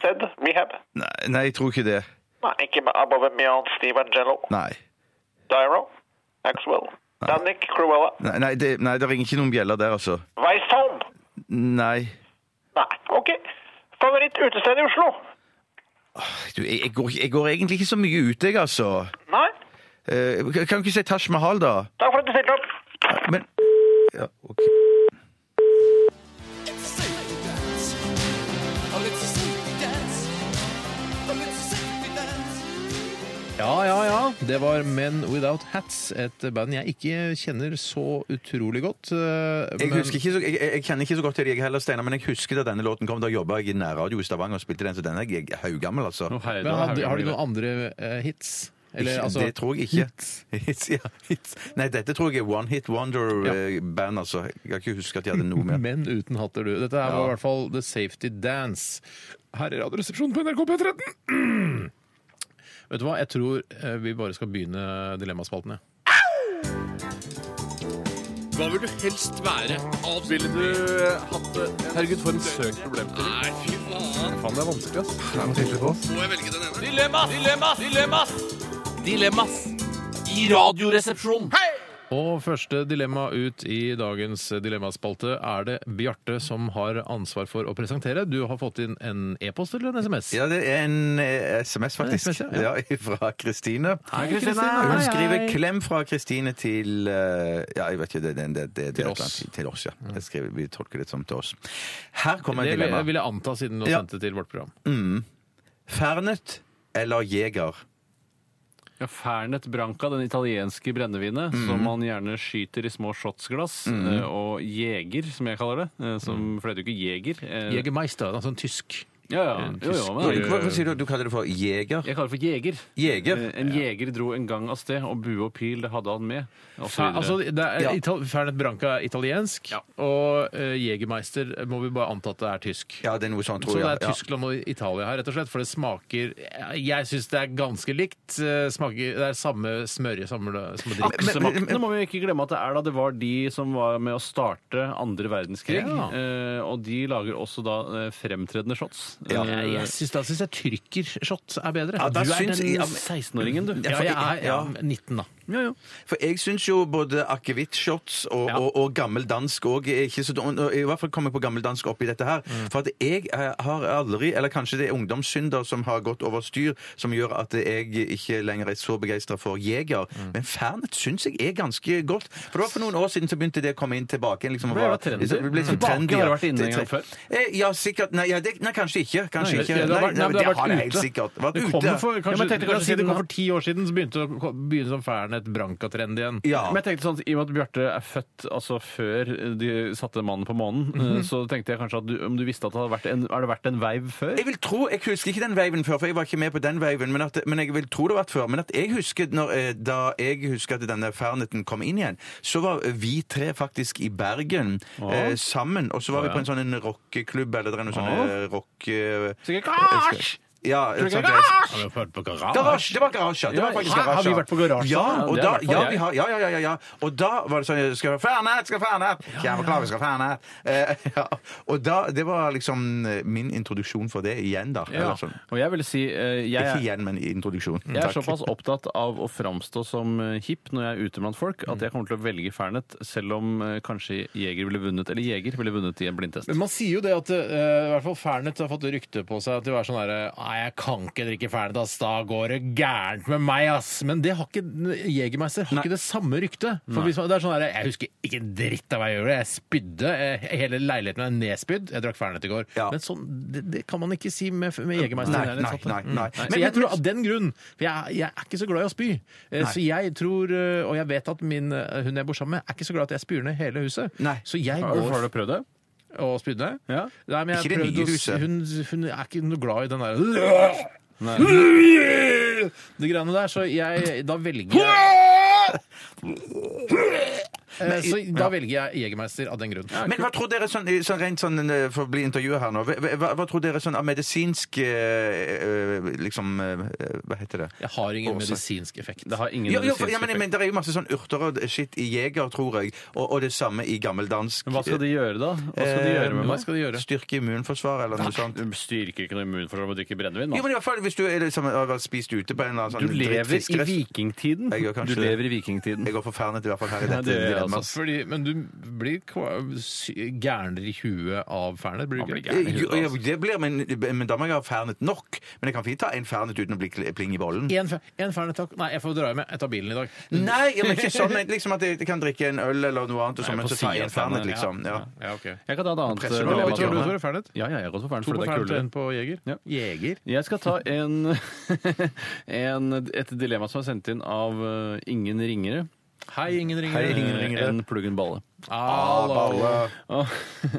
Zed, Rehab. Nei, nei, jeg tror ikke det. Nei, ikke Above and Beyond, Steve Angelo, Nei. Dyro, Maxwell, Danik, Cruella, Nei, nei, det, nei det ringer ikke noen bjeller der, altså. Weisholm. Nei. Nei, ok. Favoritt utested i Oslo? Du, jeg, jeg, går, ikke- jeg går egentlig ikke så mye ut, jeg, altså. Nei. Eh, kan du ikke si Taj Mahal, da? Takk for at du stilte opp. Men ja, ok. Ja, ja, ja. Det var Men Without Hats, et band jeg ikke kjenner så utrolig godt. eh, Jeg, husker ikke så, jeg, jeg kjenner ikke så godt til deg heller, Steinar, men jeg husker da denne låten kom. Da jobba jeg i nærradio i Stavanger og spilte den, så den er jeg haugammel, altså. Å, herre, Men da har, er det har de mye. noen andre eh, hits? altså, Ikke- det tror jeg ikke. Hits, ja, hits. Nei, dette tror jeg er One Hit Wonder-band, altså. Jeg kan ikke huske at de hadde noe mer. Men uten hatter, du. Dette er i hvert fall The Safety Dance. Her i Radioresepsjonen på NRK P13. Vet du hva, jeg tror eh, vi bare skal begynne Dilemmaspalten, jeg. Mm. Og første dilemma ut i dagens dilemmaspalte er det Bjarte som har ansvar for å presentere. Du har fått inn en e-post eller en SMS? Ja, det er en eh, SMS, faktisk. SMS, ja. ja. fra Kristine. Hei, Kristine. Hun Hei, skriver hei. 'klem fra Kristine' til eh, Ja, jeg vet ikke, det, det, det, det, det Til er et oss. eller annet- Til oss, ja. Jeg skriver, vi tolker det som til oss. Her kommer Det et vil, dilemma. vil jeg anta siden du har Ja. sendt det til vårt program. Fernet eller Jeger? Ja, Fernet Branca, den italienske brennevinet, som man gjerne skyter i små shotsglass. eh, Og jeger, som jeg kaller det. eh, Som, for det heter jo ikke jeger. eh, Mm. Jegermeister, altså en tysk. Ja, ja. Jo, jo, men, Hva, hva sier du? Du kaller det for jeger? jeg kaller det for jeger. Jeger? Eh, En jeger dro en gang av sted, og bue og pil det hadde han med. Og så Ja, videre. altså, det er Ja. Ital Fernet Branca er italiensk, Ja. og uh, Jegermeister må vi bare anta at det er tysk. Ja, det er noe sånt, Så tror det jeg. er Tyskland og Italia her, rett og slett, for det smaker Jeg syns det er ganske likt. eh, Smaker, det er samme smørje, samme, samme drikk. Men- men- Aksemaktene må vi ikke glemme at det er da det var de som var med å starte andre verdenskrig. Ja. Eh, og de lager også da eh, fremtredende shots. Ja. Eh, Jeg- Jeg syns da syns jeg tyrkershot er bedre. Ja, da du er syns den jeg- ja, men- 16-åringen, du. Ja, jeg er ja, Ja. 19, da. Ja, ja. For jeg syns jo både akevittshots og, Ja. og, og gammel dansk òg er ikke så dum- og I hvert fall kommer jeg på gammel dansk oppi dette her. Mm. For at jeg eh, har aldri, eller kanskje det er ungdomssynder som har gått over styr, som gjør at jeg ikke lenger er så begeistra for Jeger. Mm. Men Fernet syns jeg er ganske godt. For det var for noen år siden så begynte det å komme inn tilbake igjen. Liksom, og Ble det var- trendy? Det ble sånn Tilbake trendy, har ja. det vært inne en gang før? Eh, Ja, sikkert. Nei, ja, det, nei kanskje ikke. Kanskje Nei, ikke. det- det har vært- nei, men det har vært har det helt ute. sikkert. Vært Det ute. kommer for- Ja, Kanskje- men jeg tenkte la kanskje oss si det siden kom for ti år siden så begynte det å begynne som Fernet Branca-trend igjen. Ja. Men jeg tenkte sånn, at I og med at Bjarte er født altså før de satte mannen på månen, Mhm. eh, så tenkte jeg kanskje at du, om du visste at det hadde vært en, har det vært en veiv før? Jeg vil tro, jeg husker ikke den veiven før, for jeg var ikke med på den veiven, men, at, men jeg vil tro det har vært før. Men at jeg husker, når, eh, da jeg husker at denne Ferneten kom inn igjen, så var vi tre faktisk i Bergen eh, sammen, og så var vi på en sånn en rockeklubb, eller det er noe sånn eh, rock... eh, Sikkert garasje! Ja, et sånt- Har vi hørt på garasje? Garasje, det var garasje. Det var faktisk Hæ? garasje. Har vi vært på garasje? Ja, Ja, og det da, har i hvert fall ja, jeg. vi har, ja, ja, ja, ja, ja. Og da var det sånn Skal vi ha Fernet? Skal vi ha Fernet? Ja, beklager, vi skal ha Fernet. Eh, ja. Og da, det var liksom eh, min introduksjon for det igjen, da. Ja. Eller sånn. Og jeg vil si eh, jeg, Ikke er- igjen, men i introduksjon. Jeg er Takk. såpass opptatt av å framstå som eh, hipp når jeg er ute blant folk, at jeg kommer til å velge Fernet, selv om eh, kanskje Jeger ville vunnet, eller Jeger ville vunnet i en blindtest. Men man sier jo det at eh, i hvert fall Fernet har fått rykte på seg til å være sånn herre Nei, jeg kan ikke drikke Fernet, ass. Da går det gærent med meg, ass. Men det har ikke Jegermeister har ikke det samme ryktet. For hvis man, det er sånn herre Jeg husker ikke dritt av hva jeg gjorde. Jeg spydde. eh, Hele leiligheten er nedspydd. Jeg drakk Fernet i går. Ja. Men sånn, det, det kan man ikke si med, med Jegermeister. Nei, Det er litt nei, satt, da. nei, nei. Mm. Men- Så jeg men- tror av den grunn For jeg, jeg er ikke så glad i å spy. Eh, Så jeg tror, eh, og jeg vet at min, eh, hun jeg bor sammen med, er ikke så glad at jeg spyr ned hele huset. Nei. Så jeg Har du, går har du prøvd det? og spydde. Ja. Nei, men jeg Ikke det prøvde nye å s- huset. Hun, hun er ikke noe glad i den der De greiene der, så jeg Da velger jeg Eh, Så da velger jeg Jegermeister av den grunn. Men hva tror dere sånn, sånn rent sånn eh, for å bli intervjuet her nå hva- Hva, hva tror dere sånn av medisinsk eh, eh, liksom eh, Hva heter det? Jeg har ingen Årsak. medisinsk effekt. Det har ingen Jo, jo, for, ja, medisinsk men, men effekt. det er jo masse sånn urter og shit i Jeger, tror jeg, og, og det samme i gammeldansk. Men Hva skal de gjøre, da? Hva skal de Eh, Ehm, gjøre med Hva meg? skal de gjøre? Styrke immunforsvaret eller noe sånt. Du styrker ikke noe immunforsvar med å drikke brennevin? nå. Jo, men i hvert fall hvis du er, liksom, har vært spist ute på en eller annen sånn Du lever i drittfiskerest- vikingtiden. Jeg gjør kanskje Du det. lever i vikingtiden. Jeg går forferdet i hvert fall her i Ja, dette det gjør jeg dilemmaet. altså. Eh, Fordi, men du blir kva- sy- gærnere i huet av Fernet? Blir Man du blir ikke? gæren i Eh, Jo, huet, jo, altså. det blir, men, men da må jeg ha fernet nok. Men jeg kan fint ta en fernet uten å bli kl- pling i bollen. En, fe- en Fernet, takk. Nei, jeg får dra hjem. Jeg tar bilen i dag. Nei, ja, men ikke sånn men liksom at jeg kan drikke en øl eller noe annet, og så, Nei, men på så ta siden en fernet, av liksom. Ja. Ja, ok. Jeg kan ta et annet. Presser du eh, meg, Hva tror du, dilemma. Tore? Fernet? Ja, ja, jeg har gått for Fernet, To for på det er Fernet og kulere. en på Jeger? Ja. Jeger? Jeg skal ta en, en, et dilemma som er sendt inn av eh, ingen ringere. Hei, ingen ringer. Hei, ingen ringere. En pluggen balle. Ah, Hallo. Og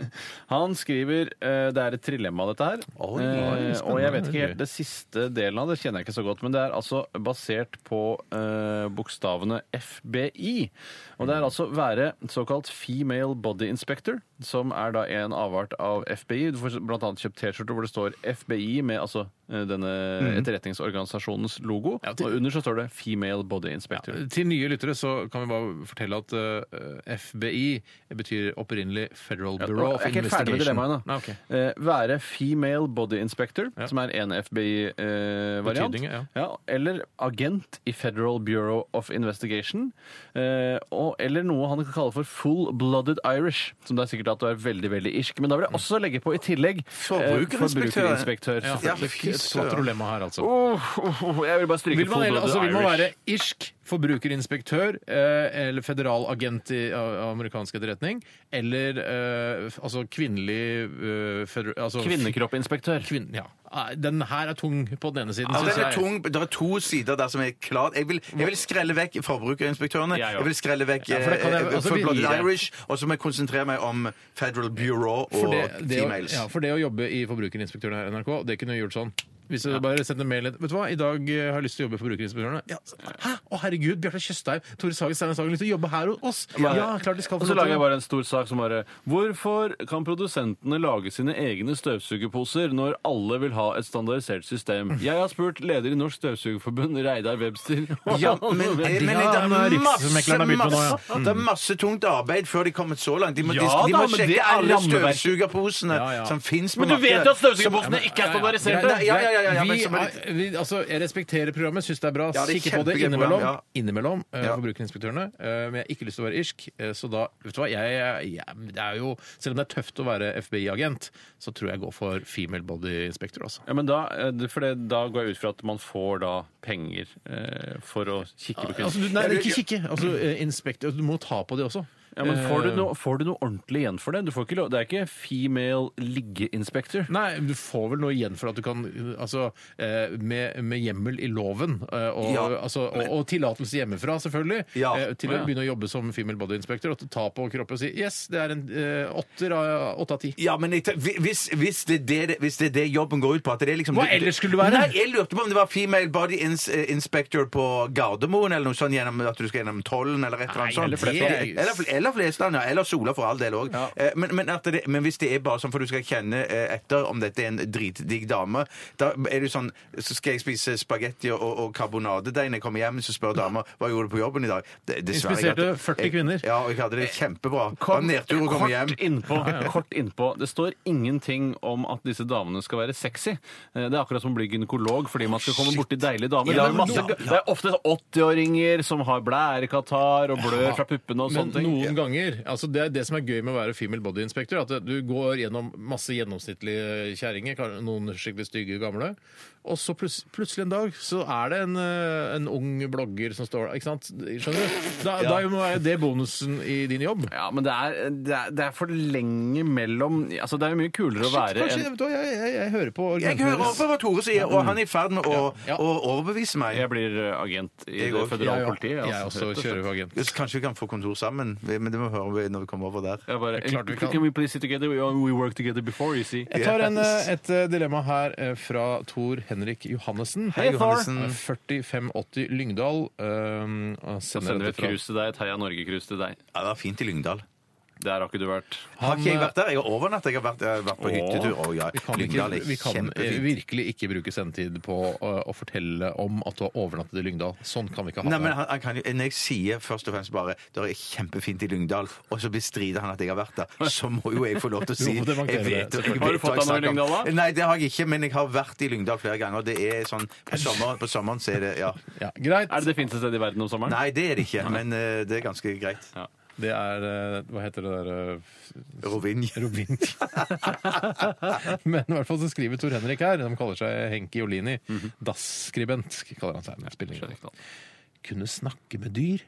Han skriver eh, Det er et trilemma, dette her. Oi, Eh, spennende. og jeg vet ikke helt det siste delen av det, kjenner jeg ikke så godt. Men det er altså basert på eh, bokstavene FBI. Og det er altså være såkalt female body inspector, som er da en avart av FBI. Du får blant annet kjøpt T-skjorte hvor det står FBI med altså eh, denne etterretningsorganisasjonens logo. Ja, til- Og under så står det female body inspector. Til nye lyttere så kan vi bare fortelle at eh, FBI betyr opprinnelig Federal Bureau Og of jeg er ikke helt ferdig Investigation. med dilemmaet Nei, ennå. ok. Eh, være female body inspector, Ja. som er en FBI-variant. Betydning, ja. eh, eller agent i Federal Bureau of Investigation. Eh, og, eller noe han kan kalle for full-blooded Irish, som det er sikkert at du er veldig veldig irsk. Men da vil jeg også legge på i tillegg eh, Forbrukerinspektør. forbrukerinspektør, Ja, selvfølgelig. et svakt dilemma her, altså. Åh, åh, åh, jeg vil bare stryke Vil man, full-blooded altså, vil man Irish. være irsk, forbrukerinspektør eh, eller federal agent i a- amerikansk etterretning eller eh, f- altså kvinnelig eh, feder- altså, Kvinnekroppinspektør. Kvinn, ja. Nei, Den her er tung på den ene siden, Ja, synes den er jeg. tung. Det er to sider der som er klart. Jeg vil, jeg vil skrelle vekk forbrukerinspektørene. Jeg òg. Jeg vil skrelle vekk Ja, for da kan jeg- eh, altså, Full vi- Blooded Irish, og så må jeg konsentrere meg om Federal Bureau og For det, det, å, females. ja, for det å jobbe i Forbrukerinspektøren her i NRK, det kunne vi gjort sånn. Hvis du bare sendte en mail Vet du hva, i dag eh, har jeg lyst til å jobbe i Forbrukerinspektørene. Ja, så- hæ? Å herregud, Bjarte Tjøstheim, Tore Sagen, Steinar Sagen, lyst til å jobbe her hos oss! Ja, klart de skal Og få så lov lager til jeg å- bare en stor sak som bare Hvorfor kan produsentene lage sine egne støvsugerposer når alle vil ha et standardisert system? Jeg har spurt leder i Norsk Støvsugerforbund, Reidar Webster. Ja, men, men de det har- er masse, Riksmekleren har begynt med nå, ja. Mm. masse, det er masse tungt arbeid før de kommer så langt. De må, Ja de, de da, må men det sjekke er alle rammeverk. støvsugerposene Ja, ja. som fins på Men du vet jo at støvsugerposene ikke er Ja, standardiserte! Nei, ja, ja, ja, ja, men vi, som er har- vi, altså, jeg respekterer programmet, syns det er bra. Ja, det er Kikker på det kjempegøy innimellom. program, innimellom eh, Ja. Forbrukerinspektørene. eh, men jeg har ikke lyst til å være irsk, eh, så da Vet du hva, jeg, jeg, det er jo Selv om det er tøft å være FBI-agent, så tror jeg jeg går for female body inspector, altså. Ja, men da, eh, det- for det, da går jeg ut fra at man får da penger eh, for å kikke på altså kunst. du, nei, ikke kikke. Altså, eh, inspector, du må ta på det også. Ja, men får du, noe, får du noe ordentlig igjen for det? Du får ikke lov, det er ikke female liggeinspektør. Nei, du får vel noe igjen for at du kan uh, Altså, eh, med, med hjemmel i loven eh, og, Ja, altså, og, og tillatelse hjemmefra, selvfølgelig, Ja. eh, til å Ja. begynne å jobbe som female body inspector og ta på kroppen og si Yes, det er en eh, åtter av åtte av ti. Ja, men jeg, tenk- hvi- hvis, hvis, det er det, hvis det er det jobben går ut på at det er liksom, Hva ellers skulle det være? Nei, Jeg lurte på om det var female body ins, eh, inspector på Gardermoen eller noe sånt, gjennom, at du skal gjennom tollen eller et eller annet Nei, sånt. eller Flesland. Eller, Fl- eller Flesland, ja. Eller Sola for all del òg. Men, men, at det- men hvis det er bare sånn for du skal kjenne eh, etter om dette er en dritdigg dame, da er du sånn så Skal jeg spise spagetti og, og karbonadedeig når jeg kommer hjem, så spør dama hva gjorde du på jobben i dag. Det- Dessverre. jeg Inspiserte hadde- 40 jeg- kvinner. Ja, og jeg hadde det kjempebra. Det var nedtur å komme hjem. Kort innpå, kort innpå. Det står ingenting om at disse damene skal være sexy. Eh, Det er akkurat som å bli gynekolog fordi man skal komme borti deilige damer. Ja, det, er men masse, no- ja. det er ofte 80-åringer som har blærekatarr og blør fra puppene og Men sånne ting. noen ganger altså det, er det som er gøy med å være female body inspector, at du går gjennom masse gjennomsnittlige kjerringer, kan- noen skikkelig stygge gamle, og så plut- plutselig en dag så er det en, eh, en ung blogger som står der. Ikke sant? Skjønner du? Da, da må være det bonusen i din jobb. Ja, men det er, det, er, det er for lenge mellom altså Det er jo mye kulere å være Kanskje, en vet du hva, jeg, jeg, jeg hører på Jeg hører argumentene over hva Tore sier, og han er i ferd med å, Ja. å overbevise meg. Jeg blir eh, agent i Jeg det også. føderale deres. politiet. Jeg altså, også rett og slett. kjører jo agent. Kanskje vi kan få kontor sammen, men det må vi høre når vi kommer over der. Jeg bare, Det er klart vi kan. Can we please sit together? We, we worked together before, you see. Jeg tar en, eh, et eh, dilemma her eh, fra Tor Henrik Johannessen. Hei, Thor. Johannessen. 4580 Lyngdal. Um, og sender Sender vi dette et fra. krus til deg, et Heia Norge-krus til deg. Ja, det var fint i Lyngdal. Der har ikke du vært. Har Han, ikke jeg vært der? Jeg har overnatt. Jeg har vært, jeg har vært på hyttetur. Å, ja. Vi kan, ikke, Lyngdal er vi kan eh, kjempefint. virkelig ikke bruke sendetid på å, å fortelle om at du har overnattet i Lyngdal. Sånn kan vi ikke ha Nei, men det. han, han kan jo, Når jeg sier først og fremst bare det er kjempefint i Lyngdal, og så bestrider han at jeg har vært der, så må jo jeg få lov til å si Jo, jeg det vet, var jeg det, vet selvfølgelig. Har du fått hva jeg deg noe i snakker om. Lyngdal, da? Nei, det har jeg ikke, men jeg har vært i Lyngdal flere ganger. og Det er sånn på sommeren, på sommeren så er det Ja. Ja, greit. Er det det fineste stedet i verden om sommeren? Nei, det er det ikke, men eh, det er ganske greit. Det er eh, Hva heter det der eh, Rovinj. Rovink. men i hvert fall så skriver Tor Henrik her, som kaller seg Henki Jolini, Mhm. dasskribent, kaller han seg. Men det spiller ingen rolle. Kunne snakke med dyr.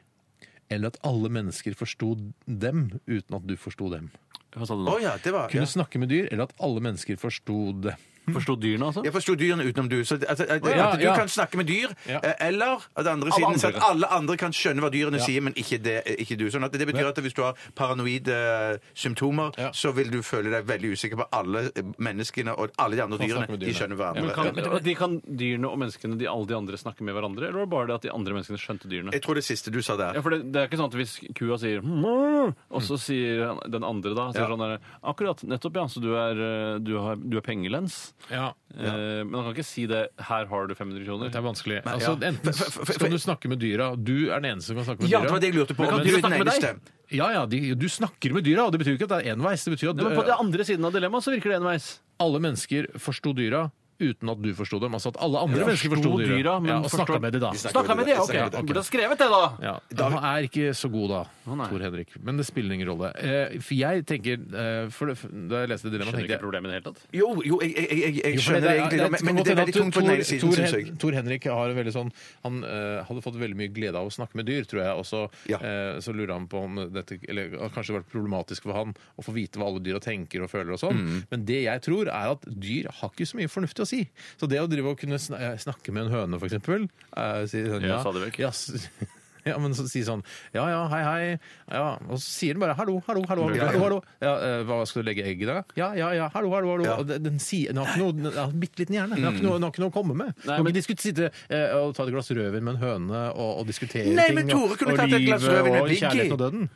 Eller at alle mennesker forsto dem uten at du forsto dem. Hva sa du Å nå? ja, det var Kunne ja. snakke med dyr, eller at alle mennesker forsto det. Forsto dyrene, altså? Jeg forsto dyrene utenom du. Så at, at, at, Ja, at du ja. kan snakke med dyr, Ja. eh, eller at andre siden så at andre. alle andre kan skjønne hva dyrene Ja. sier, men ikke, det, ikke du. Sånn at det betyr at hvis du har paranoide eh, symptomer, Ja. så vil du føle deg veldig usikker på alle eh, menneskene og alle de andre Man snakker dyrene. med De dyrene. skjønner Men hverandre. kan, Ja. de kan dyrene og menneskene, de, alle de andre, snakke med hverandre? Eller var det bare det at de andre menneskene skjønte dyrene? Jeg tror det siste du sa der. Ja, for det, det er ikke sånn at hvis kua sier «Mrr», og så sier han- den andre da sier Ja. sånn der, Akkurat, nettopp, ja. Så du er, eh, du har, du er pengelens. Ja, Eh, men han kan ikke si det. Her har du 500 kroner. Det er vanskelig. Nei, Altså, ja. Enten For- for- for- skal du snakke med dyra. Du er den eneste som kan snakke med Ja, dyra. det var det jeg lurte på. Men kan Om du du er snakke den med deg? eneste. Ja, ja, de, du snakker med dyra, og det betyr jo ikke at det er enveis. Det betyr at Ja, men på den eh, andre siden av dilemmaet så virker det enveis. alle mennesker forsto dyra uten at du forsto dem. Altså at alle andre mennesker forsto forsto dyra. dyra, men ja, og forstår- snakka med de da. Snakka med det, ok. Ja, ok. Du burde ha skrevet det, da! Ja, Han er ikke så god da, nei. Tor Henrik. Men det spiller ingen rolle. Eh, for jeg tenker eh, for det, Da jeg leste Dilemma, Skjønner tenkte ikke jeg problemet i det hele tatt. Jo, jo, jeg, jeg, jeg, jeg Jo, for skjønner det egentlig, er- da, men, men det er veldig tungt på den ene siden, Tor, syns jeg. Hen- Tor Henrik har en veldig sånn Han eh, hadde fått veldig mye glede av å snakke med dyr, tror jeg. Og så, Ja. eh, så lurer han på om dette Eller har kanskje vært problematisk for han å få vite hva alle dyra tenker og føler og sånn. Mm. Men det jeg tror, er at dyr har ikke så mye fornuftig å si. Så det å drive og kunne sn- eh, snakke med en høne, for eksempel eh, si, sånn, Ja, sa det vekk. ja, s- ja, men så si sånn Ja, ja, hei, hei. Ja, og så sier den bare hallo, hallo, hallo. hallo, hallo, hallo. Ja, eh, hva skal du legge egg i da? Ja, ja, ja, hallo, hallo. hallo. Og den, den, sier, den har ikke noe den har en bitte liten hjerne. Den Mm. har ikke noe, den har ikke noe å komme med. Den Nei, har men- ikke diskut- sitte eh, og ta et glass rødvin med en høne og, og diskutere Nei, ting. men Tore kunne og, tatt et glass rødvin med og Biggie. kjærligheten og døden.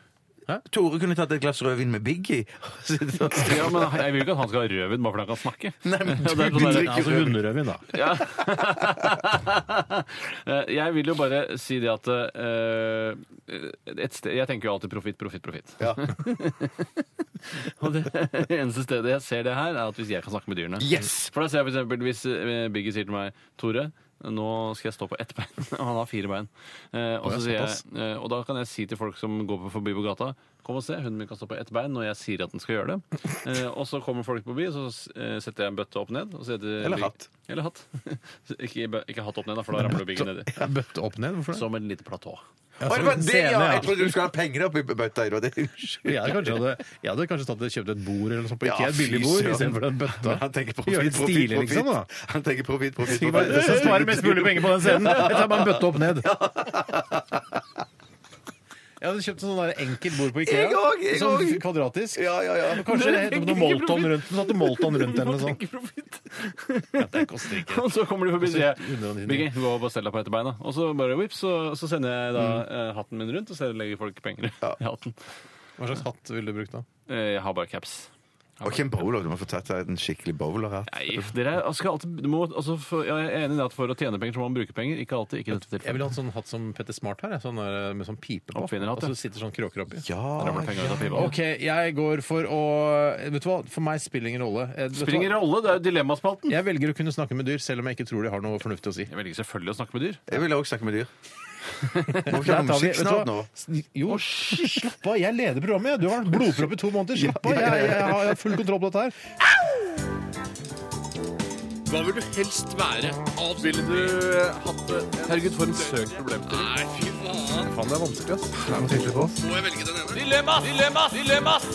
Tore kunne tatt et glass rødvin med Biggie. Ja, men jeg vil ikke at han skal ha rødvin bare fordi han kan snakke. Nei, men Ja, det du er sånn der- drikker altså, rødvin. hunderødvin, da. Ja. Eh, jeg vil jo bare si det at eh, et sted, Jeg tenker jo alltid profitt, profitt, profitt. og det eneste stedet jeg ser det her, er at hvis jeg kan snakke med dyrene. Yes! For da ser jeg for eksempel hvis eh, Biggie sier til meg Tore, nå skal jeg stå på ett bein. Og han har fire bein. Eh, og, Å, ja, så sier jeg, såpass. eh, og da kan jeg si til folk som går på forbi på gata Kom og se, hunden min kan stå på ett bein når jeg sier at den skal gjøre det. Eh, og så kommer folk forbi, og så eh, setter jeg en bøtte opp ned. Og så heter Eller hatt. Eller hatt. ikke, bø- ikke hatt opp ned, da, for da ramler Biggie nedi. Bøtte opp ned, hvorfor det? Som en liten platå. Ja, som Å, det var Altså, en det, scene, ja! ja. Jeg trodde du skulle ha penger oppi bøtta. i dag, det- Jeg hadde kanskje, hadde, jeg hadde kanskje tatt, kjøpt et bord eller noe sånt på Ja, Ikea, et billig fy bord, søren. istedenfor den Men bøtta. Han tenker Gjør profitt, det profitt, stilig, liksom, da. profitt. Han tenker profitt, profitt, Sikkert bare- Det sånn som sparer mest mulig penger på den scenen. Jeg tar bare en bøtte opp ned. Jeg hadde kjøpt sånn der enkelt bord på Ikea. Jeg òg, jeg sånn òg. kvadratisk. Ja, ja, ja. Men Kanskje det Nei, het jeg noe tenker ikke Molton rundt Sånn den. Satte Molton rundt den Nå eller sånn. tenker jeg profitt. Det koster ikke. Og så kommer de forbi og sier Koster 199. Biggie, gå og bestell deg på ettebeina. Og så bare vips, så, så sender jeg da eh, hatten min rundt, og så legger folk penger i hatten. Hva slags hatt ville du brukt da? Eh, Jeg har bare caps. Og ikke en bowler. Du må få tatt deg en skikkelig bowlerhatt. Nei, dere er- skal alltid du må, altså, for, Jeg er enig i det at for å tjene penger så må man bruke penger. Ikke alltid. ikke i dette Jeg ville tilfellet. hatt sånn hatt som Petter Smart her, jeg. sånn der, med sånn pipe på. Oppfinnerhatt, ja. Og så sitter sånn kråker oppi. Da ramler Ja, penger ut av pipa. OK, jeg går for å Vet du hva, for meg spiller ingen rolle. Eh, vet du hva? Spiller ingen rolle, det er jo dilemmaspalten. Jeg velger å kunne snakke med dyr, selv om jeg ikke tror de har noe fornuftig å si. Jeg velger selvfølgelig å snakke med dyr. jeg ville også snakke med dyr. Må ikke ha Der noe tar vi- musikk vet du snart hva? nå. S- Jo, slapp av. Jeg leder programmet. jeg. Du har blodpropp i to måneder. Slapp av. Jeg, jeg, jeg har full kontroll på dette her. Herregud, for en søk problem til. Faen, det er vanskelig, ass. Dilemmas! Dilemmas! Dilemmas!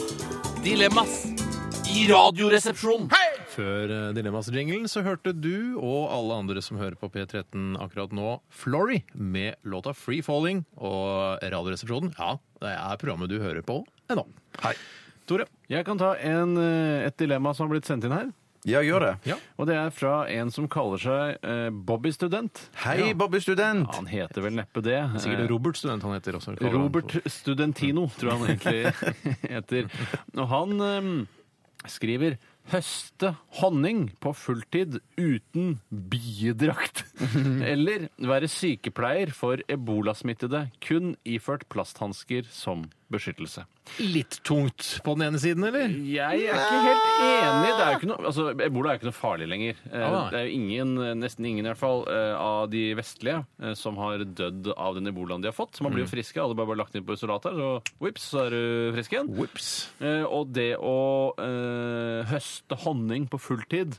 Dilemmas! I radioresepsjonen. Før eh, Dilemmas-jinglen så hørte du og alle andre som hører på P13 akkurat nå, Florrie med låta 'Free Falling' og Radioresepsjonen. Ja, det er programmet du hører på ennå. Hei. Tore. Jeg kan ta en, eh, et dilemma som har blitt sendt inn her. Ja, gjør det. Ja. Og det er fra en som kaller seg eh, Bobby Student. Hei, Bobby Student! Ja, Han heter vel neppe det. Eh, Sikkert Robert Student han heter også. kaller han Robert for. Studentino, tror jeg han egentlig heter. Og han eh, skriver Høste honning på fulltid uten biedrakt. Eller være sykepleier for ebolasmittede kun iført plasthansker som beskyttelse. Litt tungt på den ene siden, eller? Jeg er ikke helt enig. Det er jo ikke noe, altså, Ebola er jo ikke noe farlig lenger. Eh, Ah. Det er jo ingen, nesten ingen i hvert fall, eh, av de vestlige eh, som har dødd av den ebolaen de har fått. Så man Mm. blir jo friske. Alle bare bare lagt inn på isolater, og vips, så er du frisk igjen. Whips. Eh, Og det å eh, høste honning på fulltid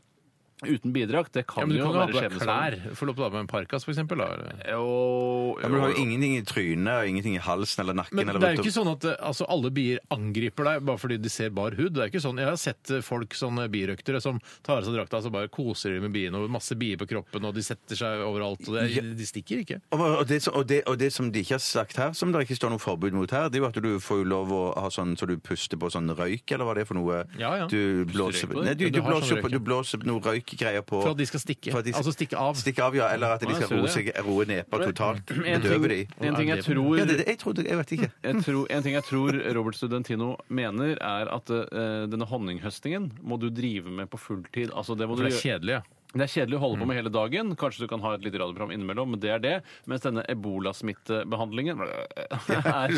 uten bidrag, det Ja, kan men du jo kan jo ha sånn. på være deg skjebnesvanger. klær. Få lov til å ha på deg en parkas, for eksempel. Da. eller? Jo, Ja, men du har jo jo. ingenting i trynet og ingenting i halsen eller nakken. Men eller det er jo rundt- ikke sånn at eh, altså, alle bier angriper deg bare fordi de ser bar hud. Det er ikke sånn, Jeg har sett eh, folk, sånne birøktere, som tar av seg drakta og så bare koser de med biene. og Masse bier på kroppen, og de setter seg overalt. og det, De stikker ikke. Og, og, det, som- og, det, og det som de ikke har sagt her, som det ikke står noe forbud mot her, det er jo at du får jo lov å ha sånn så du puster på sånn røyk, eller hva det er for noe Ja, ja. du blåser røyk på det? Nei, du, Ja, du, du har blåser, sånn på, røyk, du ja. blåser noe røykgreier på For at de skal stikke. For at de skal- Altså stikke av. Stikke av, ja. Eller at de Å, jeg skal ser roe, det. seg, roe nedpå totalt. En ting, Bedøve de. en ting jeg tror Ja, det, det, jeg trodde Jeg vet ikke. jeg tror, en ting jeg tror Robert Studentino mener, er at eh, denne honninghøstingen må du drive med på fulltid. Altså, det må For du det er Mm. gjøre. kjedelig. ja. Det er kjedelig å holde på med hele dagen. Kanskje du kan ha et lite radioprogram innimellom, men det er det. Mens denne ebolasmittebehandlingen er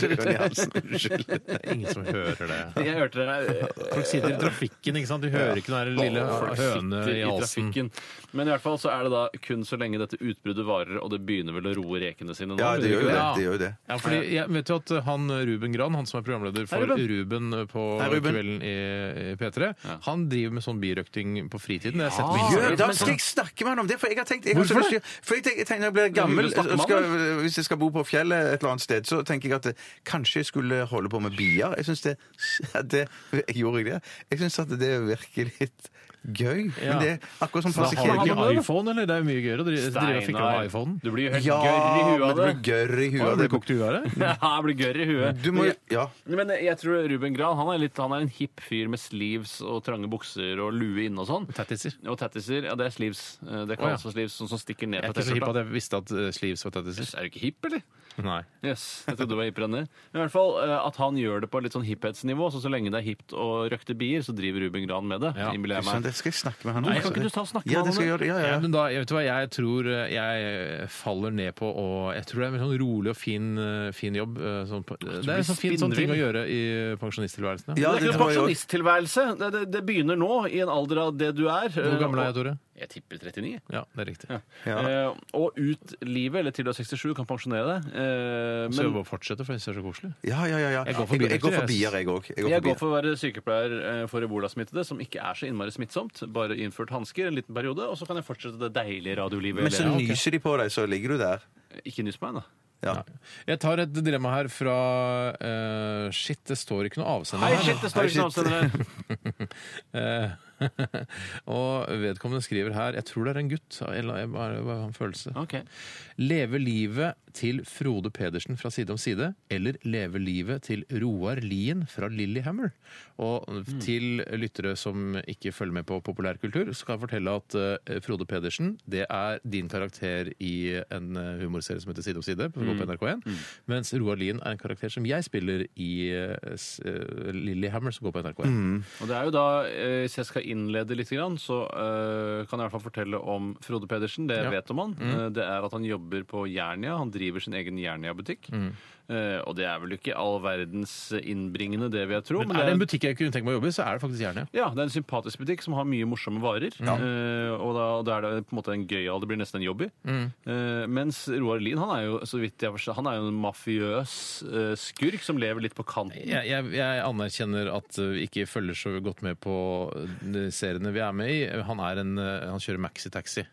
Ingen som hører det. Jeg hørte det eh, Folk sitter i trafikken, ikke sant? De hører ikke den der lille Folk høne sitter i halsen. trafikken. Men i hvert fall så er det da kun så lenge dette utbruddet varer, og det begynner vel å roe rekene sine nå? Ja, det vil gjør jo ikke det. det, gjør jo det. Ja, fordi jeg vet jo at han Ruben Gran, han som er programleder for Hei, Ruben. Ruben på Hei, Ruben. Kvelden i i P3, han driver med sånn birøkting på fritiden. Jeg har sett på Ja. Instagram. Ah. Gjør, da skal jeg snakke med han om det! For jeg har tenkt jeg har Hvorfor så lyst til- For jeg tenker, jeg tenker når jeg blir gammel, Vil du snakke med han, skal, hvis jeg skal bo på fjellet et eller annet sted, så tenker jeg at eh, kanskje jeg skulle holde på med bier. Jeg syns det, at det jeg Gjorde jeg det? Jeg syns at det virker litt gøy. Ja. Men det er akkurat som Da passe har du kjedelig. ikke iPhone, eller? Det er jo mye gøyere å drive, drive og fikle med iPhone. Du blir jo helt Ja, gørr i huet men av det. det blir gørr i Å, huet. det Det blir kokt i huet av det. Ja, jeg blir gørr i huet. Du må, Men jeg- ja. Men jeg tror Ruben Gran han er, litt, han er en hipp fyr med sleeves og trange bukser og lue inne og sånn. Tattiser. Og tattiser. Ja, det er sleeves. Det Å, ja. kalles for sleeves, sånn som stikker ned Jeg er fra ikke så hipp at T-skjorta. jeg visste at eh, sleeves var tattiser. Er du ikke hipp, eller? Nei. Yes, jeg trodde du var hippere enn det. Men i hvert fall eh, at han gjør det på litt sånn hipphetsnivå, så så lenge det er hipt å røkte bier, så driver Ruben Gran med det. Ja. innbiller jeg Sånn, meg. det skal jeg snakke med han altså? Nei, kan ikke du ta og snakke med ja, han det om skal jeg gjøre. Ja, ja. Ja, Eh, men da, jeg, vet du hva, jeg tror eh, jeg faller ned på å Jeg tror det er en sånn rolig og fin, eh, fin jobb. eh, Sånn, på- det er en sånn fin sånn ting å gjøre i pensjonisttilværelsen. Ja. Ja, det er ikke noen tror jeg også. pensjonisttilværelse. Det, det, det begynner nå, i en alder av det du er. Hvor gammel er jeg, Tore? Jeg tipper 39. Ja, det er riktig. Eh, og ut livet, eller til du er 67, kan pensjonere deg. Eh, Så jeg men må fortsette, for jeg synes det er så koselig. Ja, ja, ja, ja. Jeg går for jeg går bier, for bier, jeg òg. jeg går for å være sykepleier eh, for ebolasmittede, som ikke er så innmari smittsomt. Bare innført hansker en liten periode, og så kan jeg fortsette det deilige radiolivet. Men så jeg lever. nyser de på deg, så ligger du der. Ikke nyss på meg, da. Ja. Jeg tar et dilemma her fra eh, Shit, det står ikke noe avsender Hei, her. shit, det står ikke noe avsender her. Eh, og vedkommende skriver her Jeg tror det er en gutt. av en Eller jeg bare jeg bare har en følelse. Ok. Leve livet til Frode Pedersen fra Side om side, eller leve livet til Roar Lien fra Lillehammer. Og til lyttere som ikke følger med på populærkultur, så kan jeg fortelle at eh, Frode Pedersen det er din karakter i en eh, humorserie som heter Side om side, som går på NRK1. Mens Roar Lien er en karakter som jeg spiller i eh, s- eh, Lillehammer, som går på NRK1. Og det er jo da, eh, Hvis jeg skal innlede litt, grann, så eh, kan jeg i hvert fall fortelle om Frode Pedersen. Det jeg Ja. Mm. vet om han, eh, det er at han jobber på Jernia. Han driver sin egen Jernia-butikk. Mm. Eh, og det er vel ikke all verdens innbringende, det vil jeg tro. Men er det en butikk jeg kunne tenke meg å jobbe i, så er det faktisk Jernia. Ja, det er en sympatisk butikk som har mye morsomme varer. Eh, og da, og da er det på en måte en gøyal, det blir nesten en jobby. Eh, mens Roar Lien han er jo så vidt jeg forstår, han er jo en mafiøs eh, skurk som lever litt på kanten. Jeg, jeg, jeg anerkjenner at uh, vi ikke følger så godt med på de seriene vi er med i. Han, er en, uh, han kjører maxitaxi.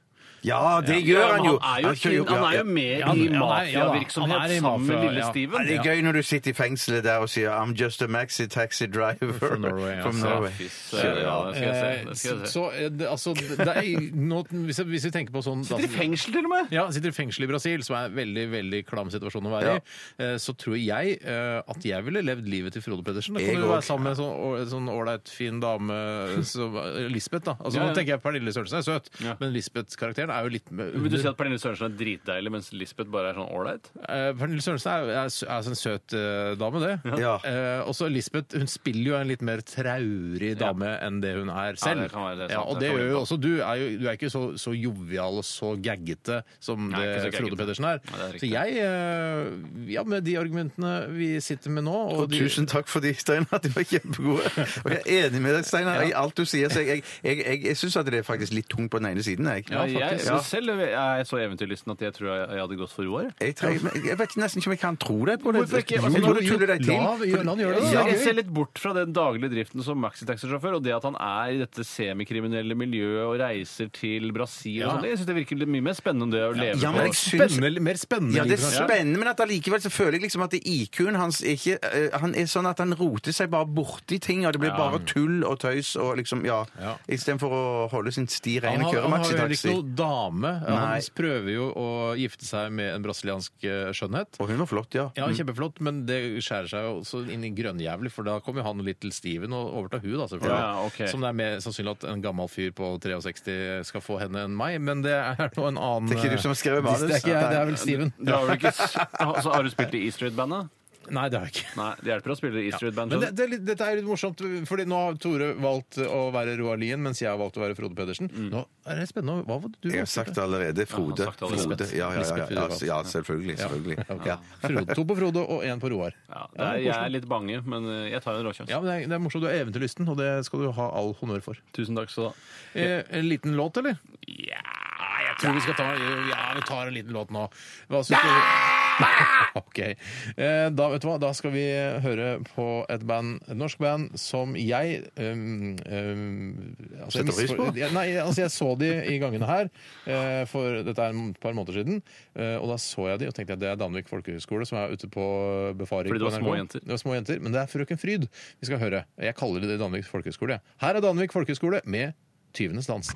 Ja, det gjør han jo! Han er jo, kjører inn- han er ja, jo med Ja, han- i ja, han er- ja da. Han mafiavirksomhet er i sammen med mafia, ja. lille Ja, Steven. det er gøy når du sitter i fengselet der og sier 'I'm just a maxi taxi driver From Norway, From altså. Norway. Fy søren, ja, det skal jeg se. Eh, Det skal jeg se. Så eh, det, altså det er, nå, hvis, jeg- hvis vi tenker på sånn Sitter i fengsel, til og med! ja, sitter i fengsel i Brasil, som er en veldig veldig klam situasjon å være i, eh, så tror jeg eh, at jeg ville levd livet til Frode Pedersen. Da Jeg kan du være òg. sammen med en sånn å- sånn ålreit, fin dame som eh, Lisbeth, da. Altså, Ja, ja. Nå tenker jeg Pernille Sørensen er søt, Ja. men Lisbeth-karakteren er jo litt med- Vil du si at Pernille Sørensen er dritdeilig, mens Lisbeth bare er sånn ålreit? Eh, Pernille Sørensen er, er, sø- er en søt eh, dame, det. Ja. Eh, også Lisbeth hun spiller jo en litt mer traurig dame enn det hun er selv. det kan være det, sant. ja, og Det det får gjør du jo på. også du. Er jo, du er ikke så, så jovial og så gaggete som Nei, ikke så det Frode gaggete. Pedersen er. Nei, det er så riktig. jeg eh, Ja, med de argumentene vi sitter med nå og Og de, tusen takk for de, Steinar. De var kjempegode. Og jeg er enig med deg, Steinar, i alt du sier. Så jeg, jeg, jeg, jeg, syns at det er faktisk litt tungt på den ene siden. Jeg, Ja, jeg, Ja. Selv er jeg så eventyrlysten at jeg tror jeg, jeg hadde gått for Roar. Jeg, tror, jeg, jeg vet nesten ikke om jeg kan tro deg på det. Hvorfor ikke? Altså, altså, Jeg tror du Jo, tuller deg til. la- gjør- la han gjøre det, da. Jeg, Det er jeg gøy. ser litt bort fra den daglige driften som maxitaxisjåfør, og det at han er i dette semikriminelle miljøet og reiser til Brasil og Ja. sånn, jeg synes det virker litt mye mer spennende enn det å leve Ja, men jeg på. syns spennende, mer spennende. Ja, liv, det er kanskje. spennende, men at allikevel så føler jeg liksom at IQ-en hans er ikke eh, Han er sånn at han roter seg bare borti ting, og det blir bare tull og tøys og liksom Ja. Ja. Istedenfor å holde sin sti Han ren og har, køre han har jo heller ikke noe maxitaxi. dame. Nei. Han prøver jo å gifte seg med en brasiliansk eh, skjønnhet. Og hun var flott, ja. Ja, kjempeflott, men det skjærer seg jo også inn i grønnjævlig, for da kommer jo han litt til Steven og overtar hun, da, selvfølgelig. Ja, ok. Som det er mer sannsynlig at en gammel fyr på 63 skal få henne enn meg, men det er nå en annen eh, Det er ikke du som har skrevet manus. Det er ikke jeg, det er vel Steven. Du har vel ikke s- Så har du spilt i E-Street-bandet? Nei, det har jeg ikke. Nei, det hjelper å spille i Street Band. Men det, det, er litt- dette er litt morsomt, fordi nå har Tore valgt å være Roar Lien, mens jeg har valgt å være Frode Pedersen. Nå er det spennende. Hva var det du Jeg har valgte? sagt allerede Frode. Ja, han har sagt allerede. Frode. Ja, ja, ja, ja, ja, ja, selvfølgelig. selvfølgelig. Ja. Frode, to på Frode og én på Roar. Ja, det er, jeg er litt bange, men eh, jeg tar en råkjønns. Ja, men det er, det er morsomt. Du er eventyrlysten, og det skal du ha all honnør for. Tusen takk skal du ha. Eh, en liten låt, eller? Ja, jeg tror vi skal ta Ja, vi tar en liten låt nå. Hva syns du? OK. Eh, Da, vet du hva? da skal vi høre på et band, et norsk band som jeg um, um, altså, jeg Setter pris på? misfor- Ja, Nei, altså jeg så de i gangene her eh, for dette er et par måneder siden. eh, Og da så jeg de og tenkte at det er Danvik folkehøgskole som er ute på befaring. Fordi det på var NRK. små jenter. Det var små jenter. Men det er Frøken Fryd vi skal høre. Jeg kaller det Danvik folkehøgskole. jeg. Her er Danvik folkehøgskole med Tyvenes dans.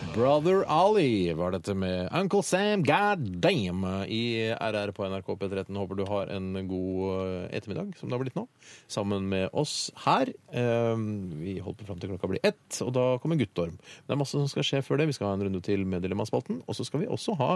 Brother Ali var dette med Uncle Sam God Damn i RR på NRK P13. Håper du har en god eh, ettermiddag, som det har blitt nå, sammen med oss her. Eh, Vi holder på fram til klokka blir ett, og da kommer Guttorm. Det er masse som skal skje før det. Vi skal ha en runde til med Dilemmaspalten. Og så skal vi også ha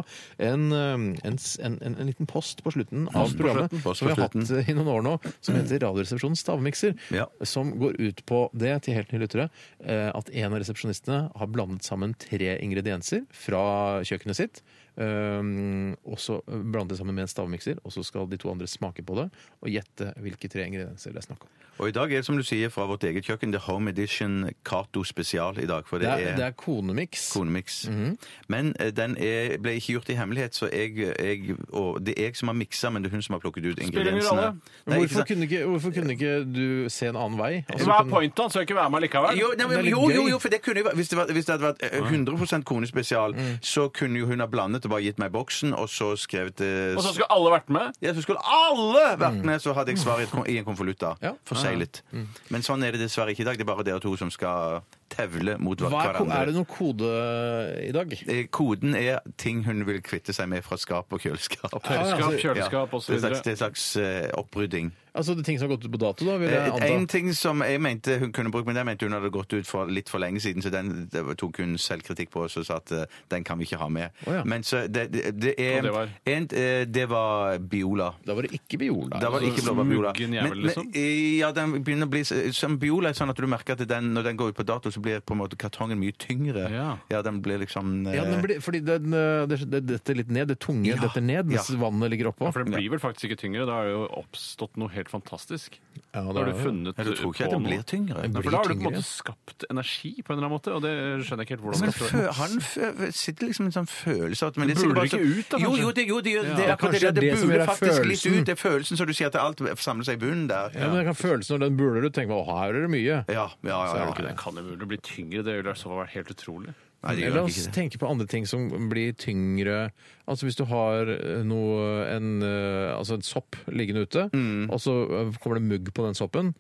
en, eh, en, s- en, en, en liten post på slutten av programmet Post som på vi har hatt i noen år nå, som heter Radioresepsjonens stavmikser Ja. som går ut på det til helt nye lyttere, eh, at en av resepsjonistene har blandet sammen tre ingredienser fra kjøkkenet sitt. Um, og så blandet det sammen med en stavmikser, og så skal de to andre smake på det og gjette hvilke tre ingredienser det er snakk om. Og i dag er det, som du sier, fra vårt eget kjøkken, The Home Edition Cato Spesial i dag. For Det det, er, det er er konemix. Mhm. konemix. Men eh, den er, ble ikke gjort i hemmelighet, så jeg, jeg og det er jeg som har miksa, men det er hun som har plukket ut ingen rolle. ingrediensene. Nei, ikke Hvorfor sant? kunne, ikke, hvorfor kunne ikke du se en annen vei? Altså, Hva er kunne- pointet? Han skal ikke være med likevel. Jo, nei, Det er men, litt jo, jo, gøy. jo, for det kunne jo vært Hvis det, var, hvis det hadde vært eh, 100 konespesial, Mm. så kunne jo hun ha blandet og bare gitt meg boksen, og så skrevet eh, Og så skulle alle vært med. Ja, så skulle alle vært med, så hadde jeg svar i et kon- i en konvolutt da. Mm. Ja. Mm. Forseglet. Men sånn er det dessverre ikke i dag. Det er bare dere to som skal tevle mot Hva er, ko- er det hverandre. noen kode i dag? Eh, Koden er ting hun vil kvitte seg med fra skap og kjøleskap. Kjøleskap, altså, kjøleskap Ja, osv. Det er slags, det er slags eh, opprydding. Altså det er ting som har gått ut på dato, da? Vil jeg Eh, En anta. ting som jeg mente hun kunne brukt, men den mente hun hadde gått ut for litt for lenge siden, så den det tok hun selvkritikk på og så sa at eh, den kan vi ikke ha med. Å, ja. Men så det, det, det er Og det var? en, eh, det var Biola. Da var det ikke Viola. Da var det ikke så blåbærbiola. muggen altså jævel, liksom. eh, ja, den begynner å bli s- som biola, sånn at du merker at den, når den går ut på dato, så blir på en måte kartongen mye tyngre. Ja. den blir liksom eh, Ja, den blir, fordi den, eh, det, det detter litt ned. Det tunge Ja, detter ned, mens ja. vannet ligger oppå. Ja, for den blir vel faktisk ikke tyngre. Da har det jo oppstått noe helt fantastisk. Ja, det da har er du det. funnet Nei, Du tror på ikke at den noe. blir tyngre? Den Nei, blir for da har du på en tyngre. måte skapt energi på en eller annen måte, og det skjønner jeg ikke helt hvordan Men det skal fø, han fø, sitter liksom en sånn følelse av at men det er Buler sikkert bare ikke så- ut, da, Jo, kanskje? jo, det, jo, det, gjør- det, Ja, er akkurat kanskje det, det, det er det som buler gjør det faktisk litt følelsen. ut. Det er følelsen som du sier at alt samler seg i bunnen der. Ja, men jeg kan føles når den buler ut. Tenker man, å, her er det mye. Ja, ja, ja, Så er ja, det Det kan jo mulig bli tyngre, det ville i så fall vært helt utrolig. Nei, det La gjør oss ikke det. tenke på andre ting som blir tyngre. Altså Hvis du har eh, noe, en, eh, altså en sopp liggende ute, og så eh, kommer det mugg på den soppen,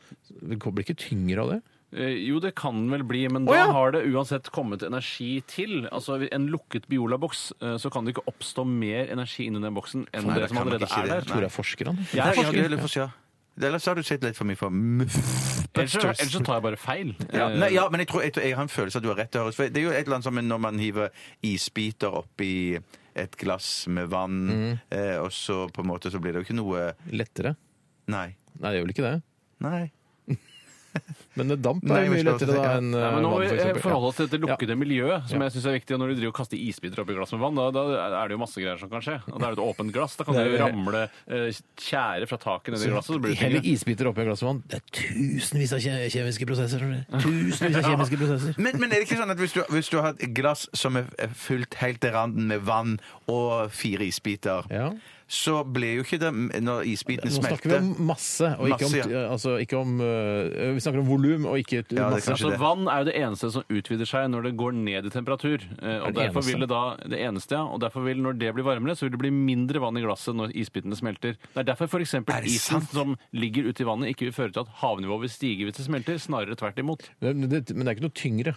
det blir ikke tyngre av det? Eh, Jo, det kan vel bli, men da Å, ja. har det uansett kommet energi til. Altså En lukket Biola-boks, eh, så kan det ikke oppstå mer energi inni den boksen enn Nei, det det som kan nok allerede ikke er det. der. Jeg tror jeg er forskerne. Jeg er Nei, ja, forsker. det- ja. Ellers har du sett litt for mye for muff. Ellers så- ellers så tar jeg bare feil. Ja, Eh, nei, ja, men jeg, tror, jeg, tror- jeg har en følelse av at du har rett. Det, høres, for det er jo et eller annet som når man hiver isbiter oppi et glass med vann, Mm. eh, og så på en måte så blir det jo ikke noe Lettere? Nei. Nei, det gjør vel ikke det. Nei. Men eh, damp Nei, er jo vi mye skal lettere også da tenke- enn Nei, eh, men nå må vann, vi for eh, eksempel. forholde oss til dette lukkede miljøet, som Ja. jeg synes er viktig. Og når du driver og kaster isbiter oppi glass med vann, da, da er det jo masse greier som kan skje. Og da er det et åpent glass. Da kan det Det jo er- ramle eh, tjære fra taket ned i glasset. Så blir det Heller tyngre. isbiter oppi et glass vann. Det er tusenvis av kje- kjemiske prosesser. skjønner du. Tusenvis av kjemiske prosesser. Men, men er det ikke sånn at hvis du, hvis du har et glass som er er fylt helt til randen med vann og fire isbiter, Ja. så blir jo ikke det Når isbitene Nå snakker smelter vi om masse, og ikke om, Masse, ja. altså, ikke om øh, Vi snakker om volum og ikke Ja, det er masse. kanskje Altså, det. vann er jo det eneste som utvider seg når det går ned i temperatur. Eh, Og det derfor eneste? vil det da, det eneste, ja, og derfor vil når det blir varmere, så vil det bli mindre vann i glasset når isbitene smelter. Det er derfor f.eks. det isen sant? som ligger ute i vannet, ikke vil føre til at havnivået vil stige hvis det smelter. Snarere tvert imot. Men det, men det er ikke noe tyngre.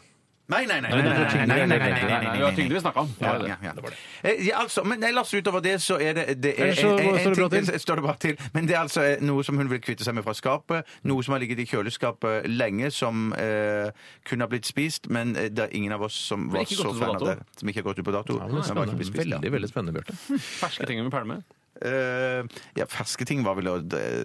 Nei, nei, nei. nei, nei, nei, nei, nei, nei, nei, nei, Det var tyngde vi snakket om. Ja, Det var det. ja, ja. Eh, ja, altså, men ellers utover det så er det, det Ellers så en- en- en står det bra ting- til. står det bra til. Men det er altså eh, noe som hun vil kvitte seg med fra skapet. Noe som har ligget i kjøleskapet lenge, som eh, kunne ha blitt spist, men eh, det er ingen av oss som var ikke gått ut så på fan av dato. det. Som ikke har gått ut på dato. Ja, men det er men bare ikke spennende. blitt spist, ja. Veldig, veldig spennende, Bjarte. Ferske ting vi pælmer. Eh, ja, ferske ting var vel å eh,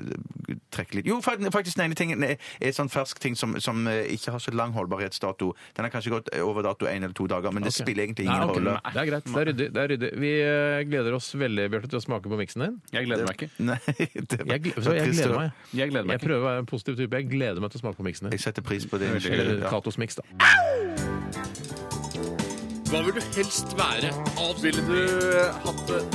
trekke litt Jo, fa- faktisk den ene tingen er er sånn fersk ting som, som eh, ikke har så lang holdbarhetsdato. Den har kanskje gått eh, over dato én eller to dager, men det spiller egentlig ingen Nei, ok, rolle. nei. Det er greit. Det er ryddig. Det er ryddig. Vi eh, gleder oss veldig, Bjarte, til å smake på miksen din. Jeg gleder meg ikke. Nei, det var Jeg, gle- så jeg trist å- gleder meg. Jeg gleder meg Jeg ikke. prøver å være en positiv type. Jeg gleder meg til å smake på miksen din. Jeg setter pris på det. Eller Ja. Katos miks, da. Hva vil du helst være? Ville du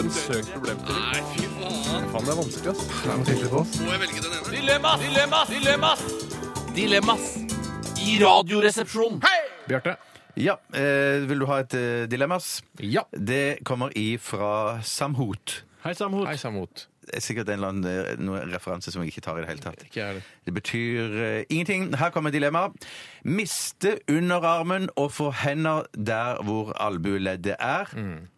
hatt det? Herregud, for en søk problem til. Nei, fy faen. det er vanskelig, ass. Må jeg velge den ene? Dilemmas! Dilemmas! Dilemmas! Dilemmas i Radioresepsjonen. Bjarte. Ja, eh, vil du ha et eh, dilemmas? Ja. Det kommer ifra Samhot. Hei, Samhot. Hei, Samot. Det er Sikkert en eller annen eh, noe referanse som jeg ikke tar i det hele tatt. Ikke jeg heller. Det betyr eh, ingenting. Her kommer dilemmaet. Miste underarmen og få hender der hvor albueleddet er.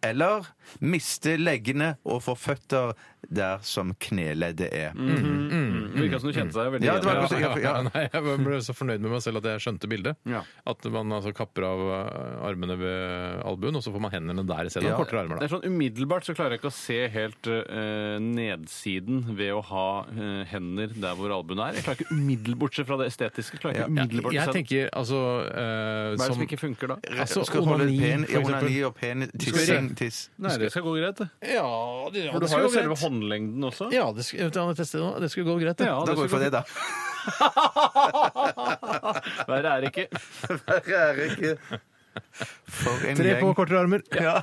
Eller miste leggene og få føtter der som kneleddet er. Virka som du kjente deg veldig Ja, det var igjen. Så jeg- ja. Nei, jeg ble så fornøyd med meg selv at jeg skjønte bildet. Ja. At man altså kapper av eh, armene ved albuen, og så får man hendene der isteden. Ja. Ja. Kortere armer, Det da. er sånn Umiddelbart så klarer jeg ikke å se helt eh, nedsiden ved å ha eh, hender der hvor albuen er. Jeg klarer ikke umiddelbart se fra det estetiske. Klarer ikke umiddelbart Jeg se den. tenker altså eh, Hva er det som som ikke funker da? Altså, Skal du holde onani, pen, for ja, eksempel. onani og pen tissing tiss. Nei, det skal gå greit. det. Ja, det, For du har jo selve håndlengden også. Ja, det skulle, jeg har testet nå. det skulle gå greit. det. Ja, Da går vi for det, da. Verre er det ikke. For en Tre på gjeng. kortere armer. Ja.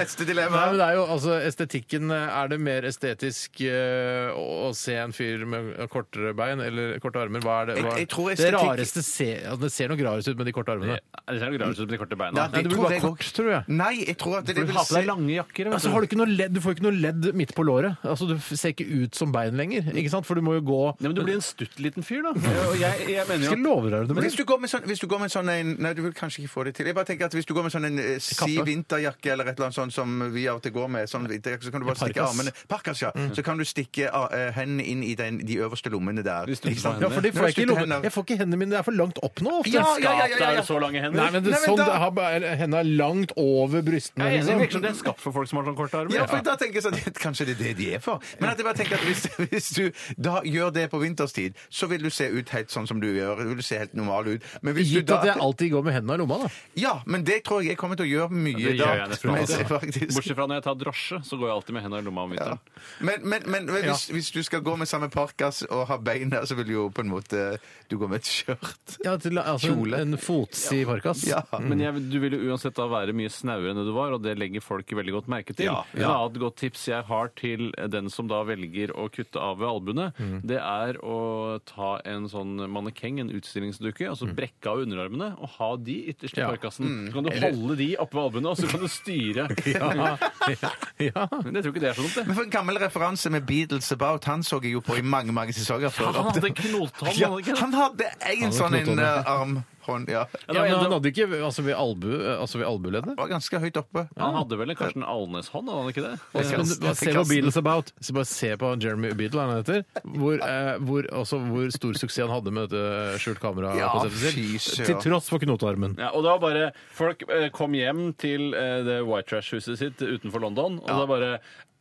Neste dilemma. Nei, men det er jo, altså, estetikken eh, Er det mer estetisk eh, å å se en fyr med eh, kortere bein eller korte armer? Hva er det, Jeg- hva, jeg tror det estetikk- rareste ser, altså, Det ser noe rarest ut med de korte armene. Det ser jo greit ut med de korte beina. Ja, Nei, det Mm. det blir tror bare jeg kort, også. tror jeg. Nei, jeg tror at det, For Du vil har på se deg lange jakker. vet Altså, har du, ikke noe ledd, du får ikke noe ledd midt på låret. Altså, du f- ser ikke ut som bein lenger. Mm. Ikke sant? For du må jo gå Nei, men du blir en stutt liten fyr, da. Og jeg, jeg mener jo Skal jeg love deg det Men hvis blir? du går med sånn, hvis du går med sånn en Nei, du vil kanskje ikke få det til. Jeg bare tenker at Hvis du går med sånn en eh, si Kappe. vinterjakke eller et eller annet sånt som vi av og til går med, sånn vinterjakke, så kan du bare stikke Parkas. Mm. armene Parkas, ja. Så kan du stikke eh, hendene inn i den, de øverste lommene der. Hvis du Ikke sant? får Ja, for de Når får du jeg ikke i slutter lommen. hendene- Jeg får ikke hendene mine. Det er for langt opp nå. ofte. Ja, at ja, ja, ja, da er ja. det så lange hender. Nei, men det, Nei, men sånn, da- det har bare hendene er langt over brystene. Jeg er enig, liksom. det virker som det er skapt for folk som har sånn korte armer. Ja, for da tenker jeg sånn, Kanskje det er det de er for. Men at jeg bare tenker at hvis, hvis du da gjør det på vinterstid, så vil du se ut helt sånn som du gjør. Du vil se helt normal ut. Men hvis Gitt du at da, jeg alltid går med hendene i lomma, da. Ja, men det tror jeg jeg kommer til å gjøre mye Det da. gjør jeg nesten Men- alltid. faktisk. Bortsett fra når jeg tar drosje, så går jeg alltid med hendene i lomma om Ja. vinteren. Men, men, men hvis, hvis du skal gå med samme parkas og ha bein der, så vil du jo på en måte Du går med et skjørt. Mm. Ja, til, altså, en, Kjole. en fotsid parkas. Ja. Men jeg, du vil jo uansett da være mye snauere enn det du var, og det legger folk veldig godt merke til. Ja, Et annet godt tips jeg har til den som da velger å kutte av ved albuene, det er å ta en sånn mannekeng, en utstillingsdukke, og så brekke av underarmene og ha de ytterst i Ja. parkassen. Så kan du holde de oppe ved albuene, og så kan du styre. Ja. ja. Men jeg tror ikke det er så dumt, det. Men for en gammel referanse med Beatles About, han så jeg jo på i mange mange sesonger før. Han hadde knothånd, ja, hadde ikke det? han hadde en hadde sånn en, knothånd, ja. eh, armhånd, ja. Ja, Ja, det var men en han som- hadde ikke altså ved, albu, altså ved albueleddet. Var ganske høyt oppe. Han hadde vel en Karsten Alnes-hånd, hadde han ikke det? Men Jeg kaster- hva- jeg Se på kaster- Beatles About. Så bare se på Jeremy Beatle, han heter. Hvor, eh, hvor, altså, hvor stor suksess han hadde med dette skjult kamera. Ja, på settet fy sitt, søren. til tross for knotearmen. Ja, og det var bare, Folk eh, kom hjem til eh, det White Trash-huset sitt utenfor London, og det var bare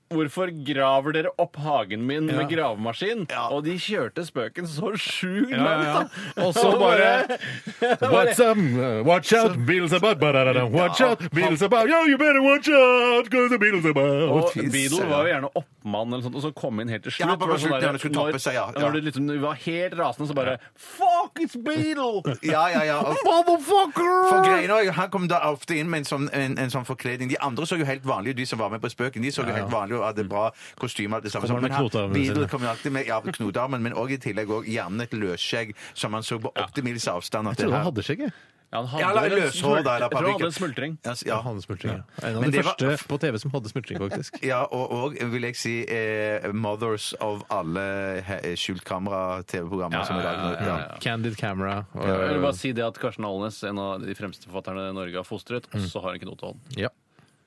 Hvorfor graver dere opp hagen min med gravemaskin? Og de kjørte spøken så sjukt langt, da! Og så bare What's up? Watch out, Beatles About! Ba-da-da-da. Watch out, Beatles About! Yo, you better watch out! Cause the Beatles About! Og fy Beadle søren. var jo gjerne oppmann eller sånt, og så kom inn helt til slutt. Ja, bare var det slutt, sånn der, ja, det skulle når- toppe seg, ja, ja. Når du liksom du var helt rasende, så bare Fuck, it's Beadle! Ja, ja, ja. og- For Ah. Motherfucker! greiene, var jo- Han kom da ofte inn med en sånn, en, en sånn forkledning. De andre så jo helt vanlige ut, de som var med på Spøken. De så jo helt vanlige og hadde bra kostyme. alt det samme. Kommer han med han- knotearmene Beadle sine? kom jo alltid med ja, knotearmen, men også i tillegg også gjerne et løsskjegg som han så på 80 mils avstand. at Jeg det trodde han her- hadde skjegg, jeg. Ja, han Ja, hadde la- vel en løshår der, smult- Jeg tror da, han paprika. hadde en smultring. Ja, s- ja. Han smultring, ja. En av Men de det var- første på TV som hadde smultring, faktisk. Ja, og, og vil jeg si eh, mothers of alle he- eh, skjult kamera-TV-programmer som er laget. Ja, Candid camera. og- Jeg vil bare si det at Karsten Alnes, en av de fremste forfatterne Norge har fostret, også har en knotehånd. Ja.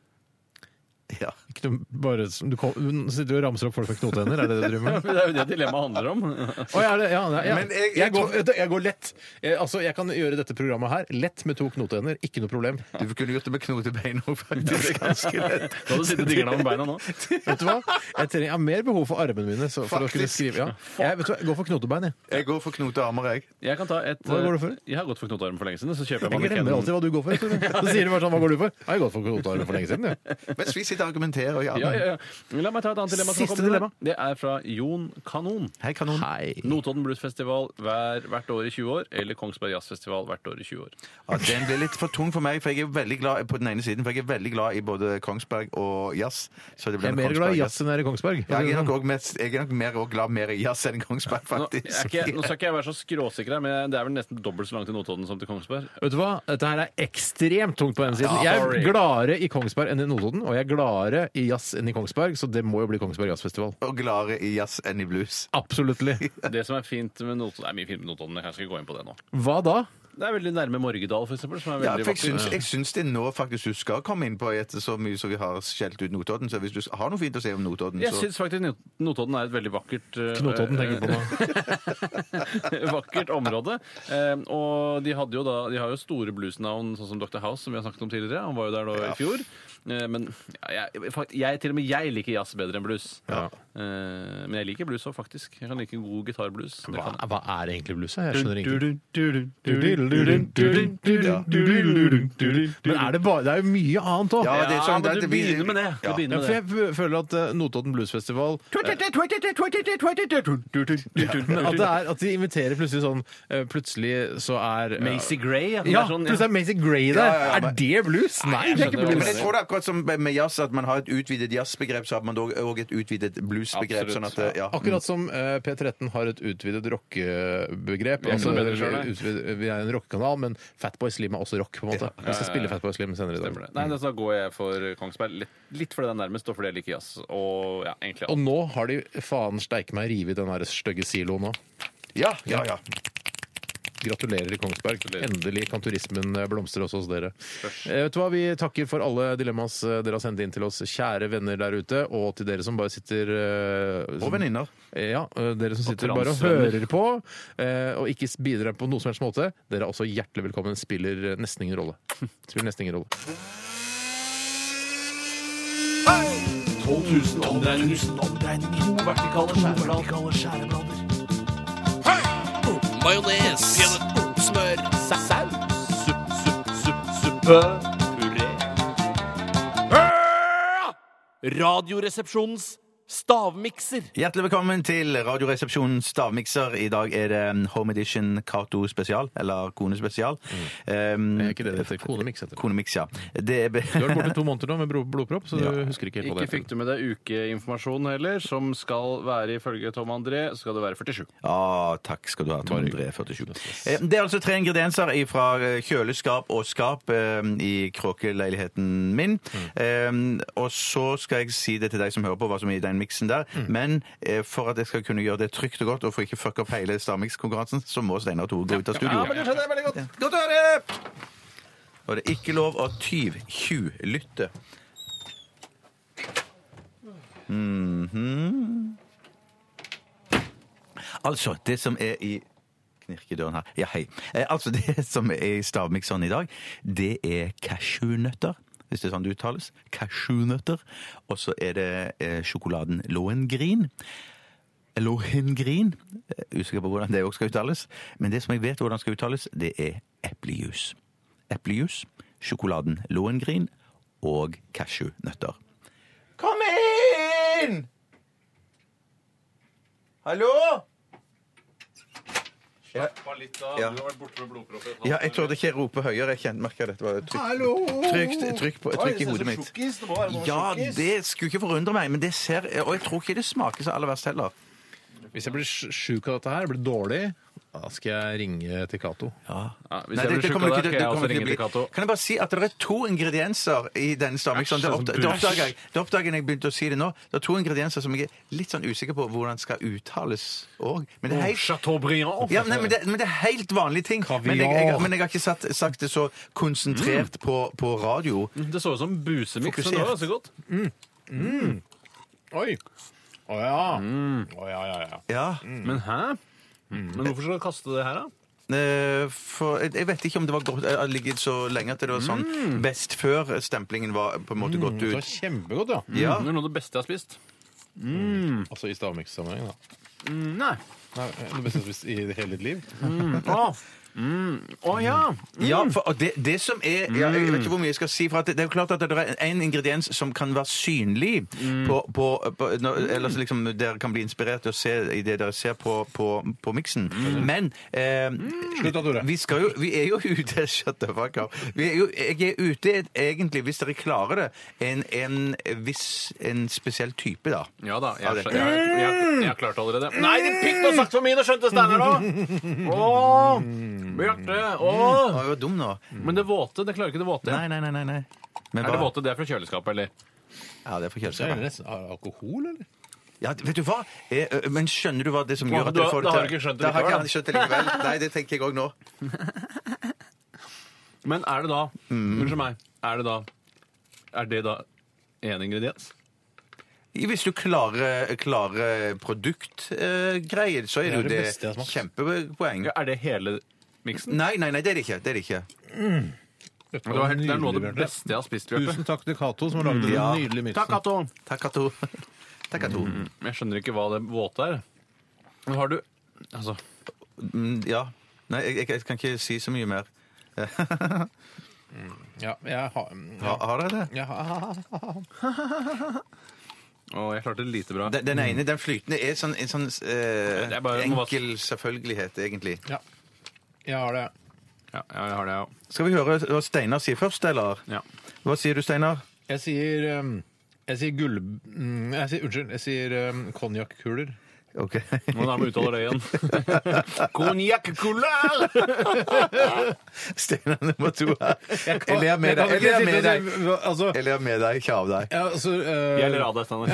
ja. Ikke noe- Bare, du, kom, du sitter jo og ramser opp folk med knotehender, er det det du driver med? Det er jo det dilemmaet handler om. Å, ja, det, ja, ja, ja. Men Jeg, jeg- jeg går, jeg går lett. Jeg, altså, jeg kan gjøre dette programmet her lett med to knotehender. Ikke noe problem. Du kunne gjort det med knotebein òg, faktisk. Ganske lett. Da hadde du sittet dingla med beina nå. Vet du hva? Jeg, trenger, jeg har mer behov for armene mine. Så, for å kunne skrive, ja. jeg, vet du hva? jeg går for knotebein, jeg. Jeg går for knotearmer, jeg. Jeg kan ta et Hva går du for? eh, Jeg har gått for knotearm for lenge siden, så kjøper jeg Jeg glemmer alltid hva du går for. Tore. Så sier du bare sånn, hva går du for? Jeg har gått for knotearmer for lenge siden, ja. Mens vi sitter og argumenterer. Ja. Ja, ja, ja. La meg ta et annet dilemma. som har Siste kommet inn her. dilemma. Det er fra Jon Kanon. Hei, kanon. Hei. Notodden Bluesfestival hver, hvert år i 20 år, eller Kongsberg Jazzfestival hvert år i 20 år. Ja, den ble litt for tung for meg, for jeg er veldig glad på den ene siden, for jeg er veldig glad i både Kongsberg og jazz. Så Jeg det blir er en mer glad Kongsberg i jazz enn jeg er i Kongsberg. Ja, jeg er nok, også mest, jeg er nok mer og glad mer i jazz enn Kongsberg, Nå, er faktisk. ikke, nå skal ikke jeg være så skråsikker, her, men det er vel nesten dobbelt så langt til Notodden som til Kongsberg. Vet du hva? Dette her er ekstremt tungt på den siden. Jeg er sorry. gladere i Kongsberg enn i Notodden, og jeg er gladere i jazz enn i Kongsberg, så det må jo bli Kongsberg Jazzfestival. Og gladere i jazz enn i blues. Absolutt. Det som er fint med Notodden, det er mye fint med Notodden, men jeg skal ikke gå inn på det nå. Hva da? Det er veldig nærme Morgedal, for eksempel, som er Ja, veldig for jeg vakker. syns, jeg syns det nå faktisk du skal komme inn på etter så mye som vi har skjelt ut Notodden. Så hvis du har noe fint å si om Notodden, Jeg så syns faktisk Not- Notodden er et veldig vakkert eh, Knotodden tenker du på nå. vakkert område. Eh, og de, hadde jo da, de har jo store bluesnavn, sånn som Dr. House, som vi har snakket om tidligere. Han var jo der da i fjor. Eh, men ja, jeg, fakt- jeg, til og med jeg liker jazz bedre enn blues. Eh, men jeg liker blues òg, faktisk. Jeg kan like god gitarblues. Det Hva, kan hva er egentlig blueset? Jeg skjønner jeg. ingenting. Men er det bare Det er jo mye annet òg. Ja, det er Ja, sånn men at du vi- begynner med det. Du Ja. begynner Ja, med for det. jeg f- føler at eh, Notodden Bluesfestival Men at, det er, at de inviterer plutselig sånn eh, Plutselig så er eh, Macy Gray. Ja, Ja, det er sånn, plutselig er Macy Gray der. Ja, ja, ja, men- Er det blues? Nei, det er skjønner ikke hva du men jeg blues. mener. tror det er akkurat som med jazz, at man har et utvidet jazzbegrep, så har man dog òg et utvidet bluesbegrep. Absolutt. Sånn at, det- ja. Akkurat som eh, P13 har et utvidet rockebegrep. Vi er ikke Altså, noe bedre selv, nei. utvid- vi er en rockekanal, men Fatboy Slim er også rock. på en måte. Vi skal spille Fatboy Slim senere i Stemmer det. dag. Nei, altså, da går jeg for Kongsberg. Litt, litt fordi det er nærmest, og fordi jeg liker jazz. Og ja, egentlig Og nå har de faen steike meg revet den der stygge siloen nå. ja, ja, ja. Gratulerer, Kongsberg. Endelig kan turismen blomstre også hos dere. Eh, Vet du hva, Vi takker for alle dilemmas eh, dere har sendt inn til oss, kjære venner der ute, og til dere som bare sitter eh, Og som- venninner. Eh, Ja, eh, dere som sitter bare og transvenner. hører på, eh, og ikke s- bidrar på noen som helst måte. Dere er også hjertelig velkommen. Spiller eh, nesten ingen rolle. Spiller nesten ingen rolle. 12 000 omdreininger. To vertikale skjæreblader. Majones. Smør. Saus. Supp, supp, supp, suppe. Puré. Radioresepsjonens stavmikser. Hjertelig velkommen til Radioresepsjonens stavmikser. I dag er det um, Home Edition Cato spesial, eller Kone spesial. Um, Det Mm. er ikke det det heter. Konemix heter det. Konemix, ja. Det er be- Du har vært borte to måneder nå med bro- blodpropp, så du husker ikke helt hva Ikke det fikk heter. du med deg ukeinformasjon heller, som skal være ifølge Tom André, skal det være 47. Ja, takk skal du ha, Tom André 47. Eh, Det er altså tre ingredienser fra kjøleskap og skap eh, i kråkeleiligheten min. Eh, Og så skal jeg si det til deg som hører på, hva som er i den miksen der. Men eh, for at jeg skal kunne gjøre det trygt og godt, og for ikke fucke opp hele stavmikskonkurransen, så må Steinar Tore gå ut av studio. skjønner jeg veldig godt. Godt å høre! Og det er ikke lov å tyv-tjuvlytte. Mhm. Altså, det som er i Knirkedøren her. Ja, hei. Eh, altså, det som er i stavmikseren i dag, det er cashewnøtter. Hvis det er sånn det uttales. Cashewnøtter. Og så er det eh, sjokoladen Lohengrin. Lohengrin. Eh, Usikker på hvordan det også skal uttales. Men det som jeg vet hvordan skal uttales, det er eplejus. Eplejus, sjokoladen Lohengrin og cashewnøtter. Kom inn! Hallo? Ja. Ja, jeg torde ikke rope høyere. Jeg kjente merka dette var trykk, trykk, trykk, på, trykk i hodet mitt. Ja, det skulle ikke forundre meg, men det ser Og jeg tror ikke det smaker så aller verst heller. Hvis jeg blir sj- sjuk av dette her, blir dårlig, Da skal jeg ringe til Cato. Ja, hvis Nei, jeg det- blir det sjuk kommer av ikke det, skal jeg også til- det kommer ikke til ringe å til Cato. bli- Kan jeg bare si at det er to ingredienser i denne stammen. ikke sant? Det, Æsj, oppda- sånn det bullshit. oppdager jeg Det oppdager jeg når jeg begynte å si det nå. Det er to ingredienser som jeg er litt sånn usikker på hvordan skal uttales òg. Men det er helt Chateaubriand. ja, nei, men, det, men det er helt vanlige ting. Men jeg, jeg, men jeg har ikke satt, sagt det så konsentrert Mm. på, på radio. Det så ut som busemiks, men det Fokusert. var ganske godt. Oi! Å ja. Mm. Å ja, ja, ja. Ja. Men hæ? Men hvorfor skal du kaste det her, da? Eh, For jeg, jeg vet ikke om det var godt Jeg har ligget så lenge at det var sånn best før-stemplingen var på en måte Mm. gått Det var Mm. ut. kjempegodt, ja. Ja. Det er noe av det beste jeg har spist. Altså i stavmikssammenheng, da. Nei. Nei, det beste jeg har spist i hele ditt liv. Å Mm. ja. Ja, for og det, det som er ja, Jeg Mm. vet ikke hvor mye jeg skal si. For at det, det er jo klart at det er en ingrediens som kan være synlig Mm. på, på, på når, Ellers liksom dere kan bli inspirert til å se i det dere ser på, på, på miksen. Men eh, Mm. Slutt da, Tore. vi, skal jo, vi er jo ute Shut the fuck up. Vi er jo, jeg er ute et- egentlig, hvis dere klarer det, en, en, viss, en spesiell type, da. Ja da, Ja, jeg, det- skjø- jeg, jeg, jeg, jeg har klart det allerede. Nei, din pikk har sagt for mye! Nå skjønte Steinar det! Å, Bjarte! Å. Å, jeg var dum nå. Men det våte, det klarer ikke Mm. det våte. Nei, nei, nei. nei, nei. Men Er det hva- våte? Det er fra kjøleskapet, eller? Ja, det er for Det er kjøleskapet. nesten er det alkohol, eller? Ja, vet du hva? Eh, ø, Men skjønner du hva det som Ja, gjør at du du har- får da det har du ikke skjønt det Da har likevel, ikke jeg skjønt det likevel. Nei, det tenker jeg òg nå. Men er det da Unnskyld meg. Er det da Er det da én ingrediens? Hvis du klarer, klarer produktgreier, så er Det er jo det det, beste jeg har smakt. kjempepoeng. Ja, Er det hele miksen? Nei, nei, nei, det er det ikke. Det er det ikke. Dette Det, var helt, det er noe av det nydelig, Bjarte. beste jeg har spist. Bjarte. Tusen takk til Cato, som har laget den Ja. nydelige miksen. Takk, Atto. Takk, Kato. Takk, Kato. Men Jeg skjønner ikke hva det våte er. Men har du Altså, Mm, Ja. Nei, jeg, jeg, jeg kan ikke si så mye mer. Ja, jeg har... Ja. Har, har dere det? Jeg har- å, jeg klarte det lite bra. Den, den ene, den flytende, er sånn, en sånn eh, Det er bare- enkel selvfølgelighet, egentlig. Ja. Jeg har det. Ja, ja, jeg har det, Skal vi høre hva Steinar sier først, eller? ja. ja. Hva sier du, Steinar? Jeg sier um, Jeg sier gull... mm, Jeg sier, unnskyld, jeg sier um, konjakkuler. Ok. Nå nærmer jeg uttaler det igjen. Konjakkuler! Steinar nummer to her. Jeg ler med Jeg deg. kan Jeg ikke sitte ler med deg. og si- Altså, Jeg ler med deg, ikke av deg. ja, altså Jeg uh, ler av deg, Steinar.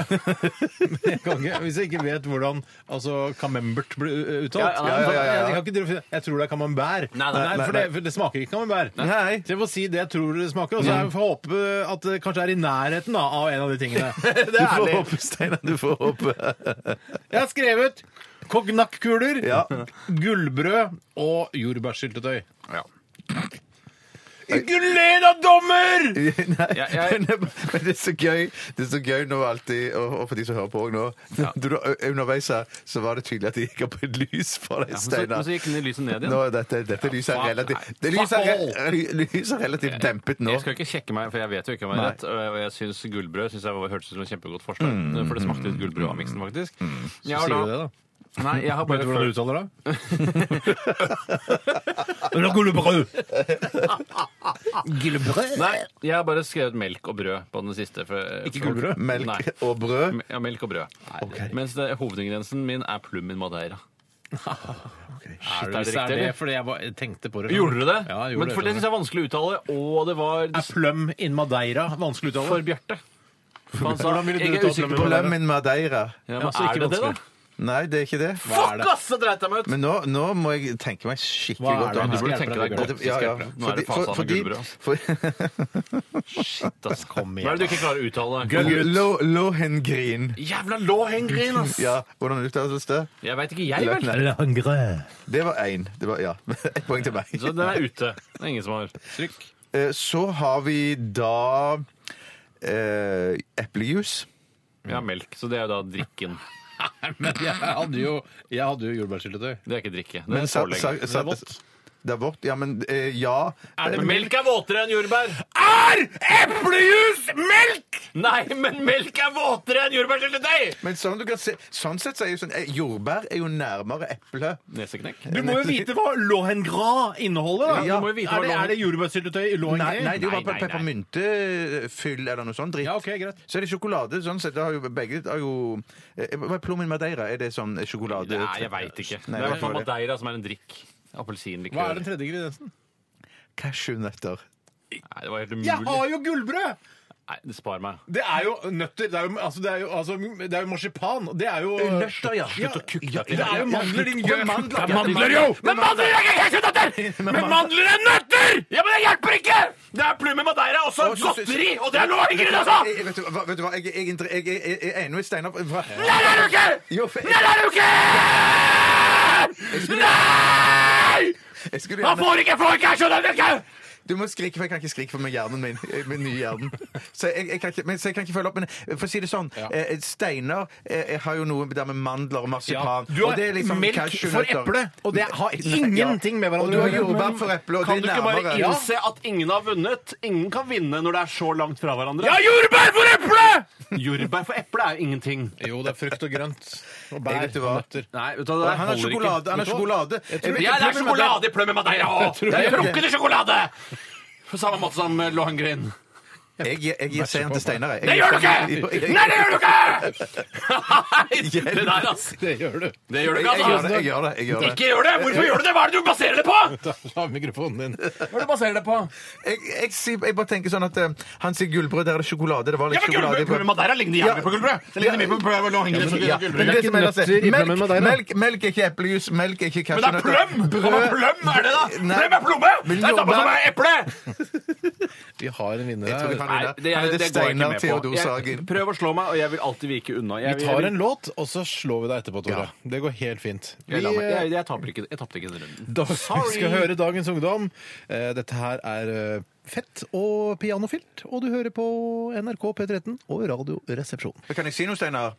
jeg kan ikke, Hvis jeg ikke vet hvordan altså, camembert blir uh, uttalt Ja, ja, ja, ja, ja. Jeg, kan ikke, drive og si, jeg tror det er camembert. Nei, nei, nei, for, det, for det smaker ikke camembert. Nei. Så jeg må si det jeg tror det smaker, og Mm. så jeg får håpe at det kanskje er i nærheten da, av en av de tingene. Du får håpe, Steinar. Du får håpe. Jeg har skrevet kognakkuler, Ja. gullbrød og jordbærsyltetøy. Ja. Ikke le da, dommer! Nei, Jeg- jeg- Men, det, men det er så gøy Det er så gøy nå alltid, og, og for de som hører på òg nå. Du, da, underveis her så var det tydelig at det gikk opp et lys for deg, men så- Steinar. men så gikk det lyset ned igjen. Nå, dette, dette lyset er fuck, relativt, nei. det lyset er, re- lyset er relativt dempet nå. Jeg skal ikke sjekke meg, for jeg vet jo ikke om jeg har rett. Og jeg syns gullbrød synes jeg var- hørtes ut som et kjempegodt forslag. For det smakte litt gullbrød av miksen, faktisk. Jeg har Mm. Sier da- du det, da? Nei, jeg har bare Vet du hvordan du følt uttaler det? Eller gullbrød! Gullbrød? Nei, jeg har bare skrevet melk og brød på den siste. For, Ikke for- gullbrød? Melk Nei. og brød. Ja, melk og brød. Ok. Mens det, hovedingrediensen min er plum in madeira. Er Er det, det er riktig, det eller? fordi jeg var, tenkte på det. Gjorde du det? Ja, jeg Men gjorde for det. det sånn syns jeg er vanskelig å uttale, og det var Er plum in Madeira vanskelig å uttale? for Bjarte. For han sa, Hvordan ville du jeg er uttalt usikker plum på- in Bløm in madeira. Ja, Ja, men så ikke er det det, da? vanskelig. Nei, det er ikke det. Hva er Fuck, det? ass! Så dreit jeg meg ut! Men nå, nå må jeg tenke meg skikkelig Hva er godt det om. her? Du burde skal tenke hjelpe deg deg, godt. Ja, ja. Nå er det faen sånn Fordi- gullbrød. for- Shit, ass. Kom igjen, Hva er det du ikke klarer å uttale? Lo- Lohengrin. Jævla låhengrin, ass! Ja, hvordan uttales det? Jeg veit ikke, jeg vel. Nei, Det var én. Det var, ja. Ett poeng til meg. Så den er ute. Det er ingen som har trykk. Eh, Så har vi da eh, eplejus. Ja, melk. Så det er jo da drikken. Men jeg hadde jo, jeg hadde jo jordbærsyltetøy. Det er ikke drikke. Det Men er sa- pålegg. sa- sa- Det er vått. Det er vått, ja, men eh, ja. Men melk er våtere enn jordbær! Er eplejus melk?! Nei, men melk er våtere enn jordbærsyltetøy! Men sånn, du kan se, sånn sett så er jo sånn eh, Jordbær er jo nærmere eple. Neseknekk. Du må jo vite hva Lohen Gras inneholder. da. Ja. Du må jo vite hva Er det- Lohen- er er det jordbærsyltetøy i Lohen Nei, Gras? nei, det er jo bare Eh, Nei, nei, nei. peppermyntefyll eller noe sånt dritt. Ja, ok, greit. Så er det sjokolade. sånn sett, det har jo begge har jo, eh, Hva er Plommen Madeira? Er det sånn sjokolade? Nei, jeg veit ikke. det er Nei, i det hvert fall var det. Madeira som er en drikk. Appelsinlikør. Hva er den tredje ingrediensen? Cashewnøtter. Nei, det var helt Jeg umulig. har jo gullbrød! Nei, det spar meg. Det er jo nøtter. Det er jo, altså, det er jo, altså, det er jo marsipan. Det er jo Nøtter, ja. Slutt å kukke deg. Det er jo mandler, din gjøk. mandler, Det er mandler, jo! Men mandler er ikke cashewnøtter! Men mandler er nøtter! Ja, men det hjelper ikke! Det er plummen Madeira også Og så- godteri, og det er lov ikke det, altså! Jeg- Eh, Vet du hva, vet du hva? jeg jeg- jeg- jeg- jeg- jeg- jeg er enig med Steinar. Hva- Nei, det er du ikke! Jo, for jeg- Nei, det er du ikke! Nei! jeg skulle Man gjerne får ikke få cashewnøtter! ikke? Du må skrike, for jeg kan ikke skrike for meg hjernen min. Min nye hjernen. Så jeg, jeg, kan ikke, men, så jeg kan ikke følge opp. Men for å si det sånn, eh, Steinar eh, jeg har jo noe der med mandler og marsipan. Du har og det er liksom melk for cashewnøtter. eple, og det har Nei, ingenting med hverandre Og du har å gjøre. jordbær for eple, og Kan det du er ikke bare nærmere. innse at ingen har vunnet? Ingen kan vinne når det er så langt fra hverandre. Ja, jordbær for eple! Jordbær for eple er jo ingenting. Jo, det er frukt og grønt. Og Jeg bær vet du hva. og nøtter. Nei, vet du, hva, Og det Han har holder ikke. sjokolade. Han har sjokolade. Ja, det er sjokolade i Plømmen Madeira òg! Det er trukkete sjokolade! På samme måte som eh, Lohengrin. Jeg, jeg, jeg gir seieren til Steinar. jeg. Det gjør du Jo, ikke! jeg- Nei, det gjør du ikke! Nei, det der, ass. Det gjør du. Det gjør du ikke, Jeg, jeg, gjør det, altså. jeg gjør det. Jeg gjør det. Ikke gjør det! Hvorfor gjør du det? Hva er det du baserer det på? Ta av mikrofonen din. Hva er det du baserer det på? Jeg, jeg, sier- jeg bare tenker sånn at eh, han sier gullbrød, der er det sjokolade. Det var Ja, litt men sjokolade gullbrød! i Plømmen Madeira ligner Ja. jævlig på gullbrød. Det ligner mye på Plømmen Lohengrin som Ja, ligner på men gullbrød. det som er nøtter i melk, plommen med deg, da. melk, melk er ikke eplejus, melk er ikke Men det er cashewnøtter. pløm! Hva med pløm er det, da? Nei. Pløm er plomme! Men Det er samme som jordbær- er eple! Vi har en vinner Jeg tror her. vi kan vinne. Han heter Steinar Theodor Sagen. prøv å slå meg, og jeg vil alltid vike unna. Vi tar en låt, og så slår vi deg etterpå, Tore. Det går helt fint. Vi, Jeg, la meg- jeg, eh, jeg taper ikke, jeg tapte ikke den runden. da, vi skal høre Dagens Ungdom. Eh, Dette her er eh, Fett og pianofilt, og du hører på NRK P13 og Radioresepsjonen. Men Kan jeg si noe, Steinar?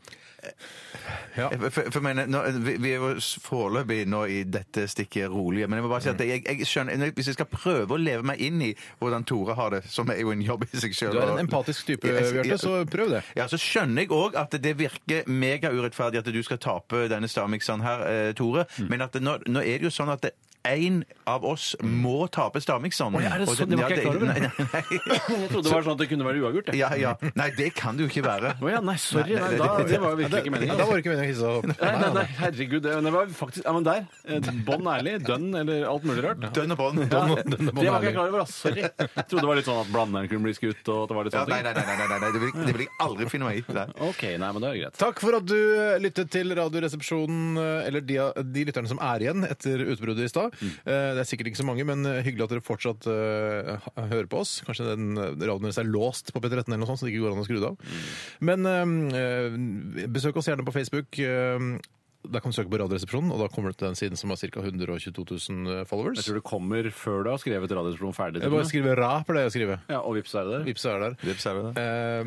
Ja. For, for jeg mener, nå, vi, vi er jo s- foreløpig nå i dette stikket rolige, men jeg må bare si at jeg, jeg skjønner Hvis jeg skal prøve å leve meg inn i hvordan Tore har det, som er jo en jobb i seg sjøl Du er en empatisk type, Bjarte, så prøv det. Ja, så skjønner jeg òg at det virker megaurettferdig at du skal tape denne stavmikseren her, eh, Tore. Mm. Men at det, nå, nå er det jo sånn at det en av oss må tape stavmikseren. Å, ja, er det Og sånn? Det var ja, ikke jeg klar over. Nei, nei, nei. Jeg trodde det var sånn at det kunne være uavgjort. jeg. Ja, ja. Nei, det kan det jo ikke være. Å ja, nei, sorry. Nei, da, det var virkelig ikke meningen. Da var det ikke meningen å hisse deg opp. Nei, nei, nei, herregud. Det, det var faktisk Ja, men der. eh, Bånn ærlig. Dønn eller alt mulig rart. Dønn og bånd. Ja, Dønn og- det var ikke jeg klar over, ass. Sorry. Jeg trodde det var litt sånn at blanderen kunne bli skutt, og at det var litt Ja, sånne nei, nei, ting. nei, nei, nei, nei, det vil, det vil jeg aldri finne meg i. Nei. OK, nei, men da er det greit. Takk for at du eh, lyttet til Radioresepsjonen, eh, eller de, de lytterne som er igjen etter utbruddet i stad. Mm. Eh, Det er sikkert ikke så mange, men hyggelig at dere fortsatt eh, h- hører på oss. Kanskje den eh, radioen deres er låst på P13 eller noe sånt, så det ikke går an å skru det av. Mm. Men eh, eh, besøk oss gjerne på Facebook. eh, Der kan du søke på Radioresepsjonen, og da kommer du til den siden som har ca. 122 000 eh, followers. Jeg tror det kommer før du har skrevet Radiosprom ferdig. Jeg bare skriver 'ra' for det jeg skriver. Ja, og vips er det der. Vips er der. Eh,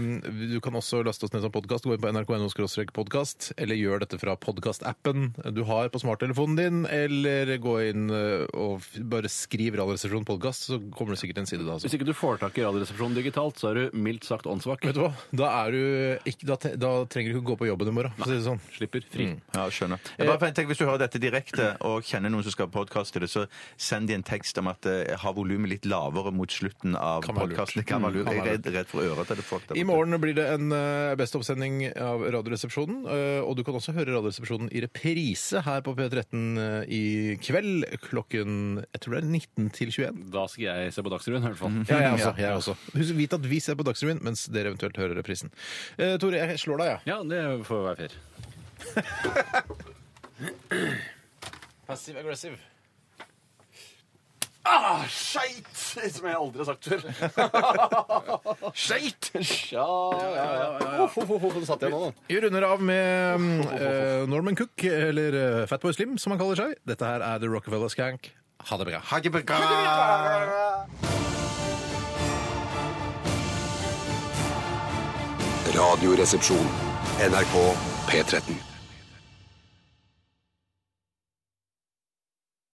du kan også laste oss ned som podkast. Gå inn på nrk.no-podkast, eller gjør dette fra podkastappen du har på smarttelefonen din, eller gå inn eh, og f- bare skriv Radioresepsjonen podkast, så kommer det sikkert en side da. Altså. Hvis ikke du får tak i Radioresepsjonen digitalt, så er du mildt sagt åndssvak. Vet du hva? Da, er du ikke, da, te- da trenger du ikke gå på jobben i morgen, for å si det sånn. Slipper fri. Ja, skjønner. Jeg bare tenker, hvis du hører dette direkte og kjenner noen som skal podkaste det, så send de en tekst om at eh, ha volumet litt lavere mot slutten av Kan være lurt. podkasten. Det kan være lurt. Kan Jeg er være redd, redd for øret til det folk der I borte. morgen blir det en eh, best oppsending av Radioresepsjonen. eh, Og du kan også høre Radioresepsjonen i reprise her på P13 eh, i kveld klokken jeg tror det er 19 til 21. Da skal jeg se på Dagsrevyen, i hvert fall. Ja, jeg også. Jeg også. Husk, vit at vi ser på Dagsrevyen, mens dere eventuelt hører reprisen. Eh, Tore, jeg slår deg, jeg. Ja, det får være fair. Passive aggressive. Ah, skeit! Som jeg aldri har sagt før. skeit! Ja, ja, ja. Hoff, hoff, hoff, den satt jeg nå, da. Vi runder av med mm, eh, Norman Cook, eller eh, Fatboy Slim, som han kaller seg. Dette her er The Rockefeller Skank. Ha det bra. Radioresepsjon. NRK P13.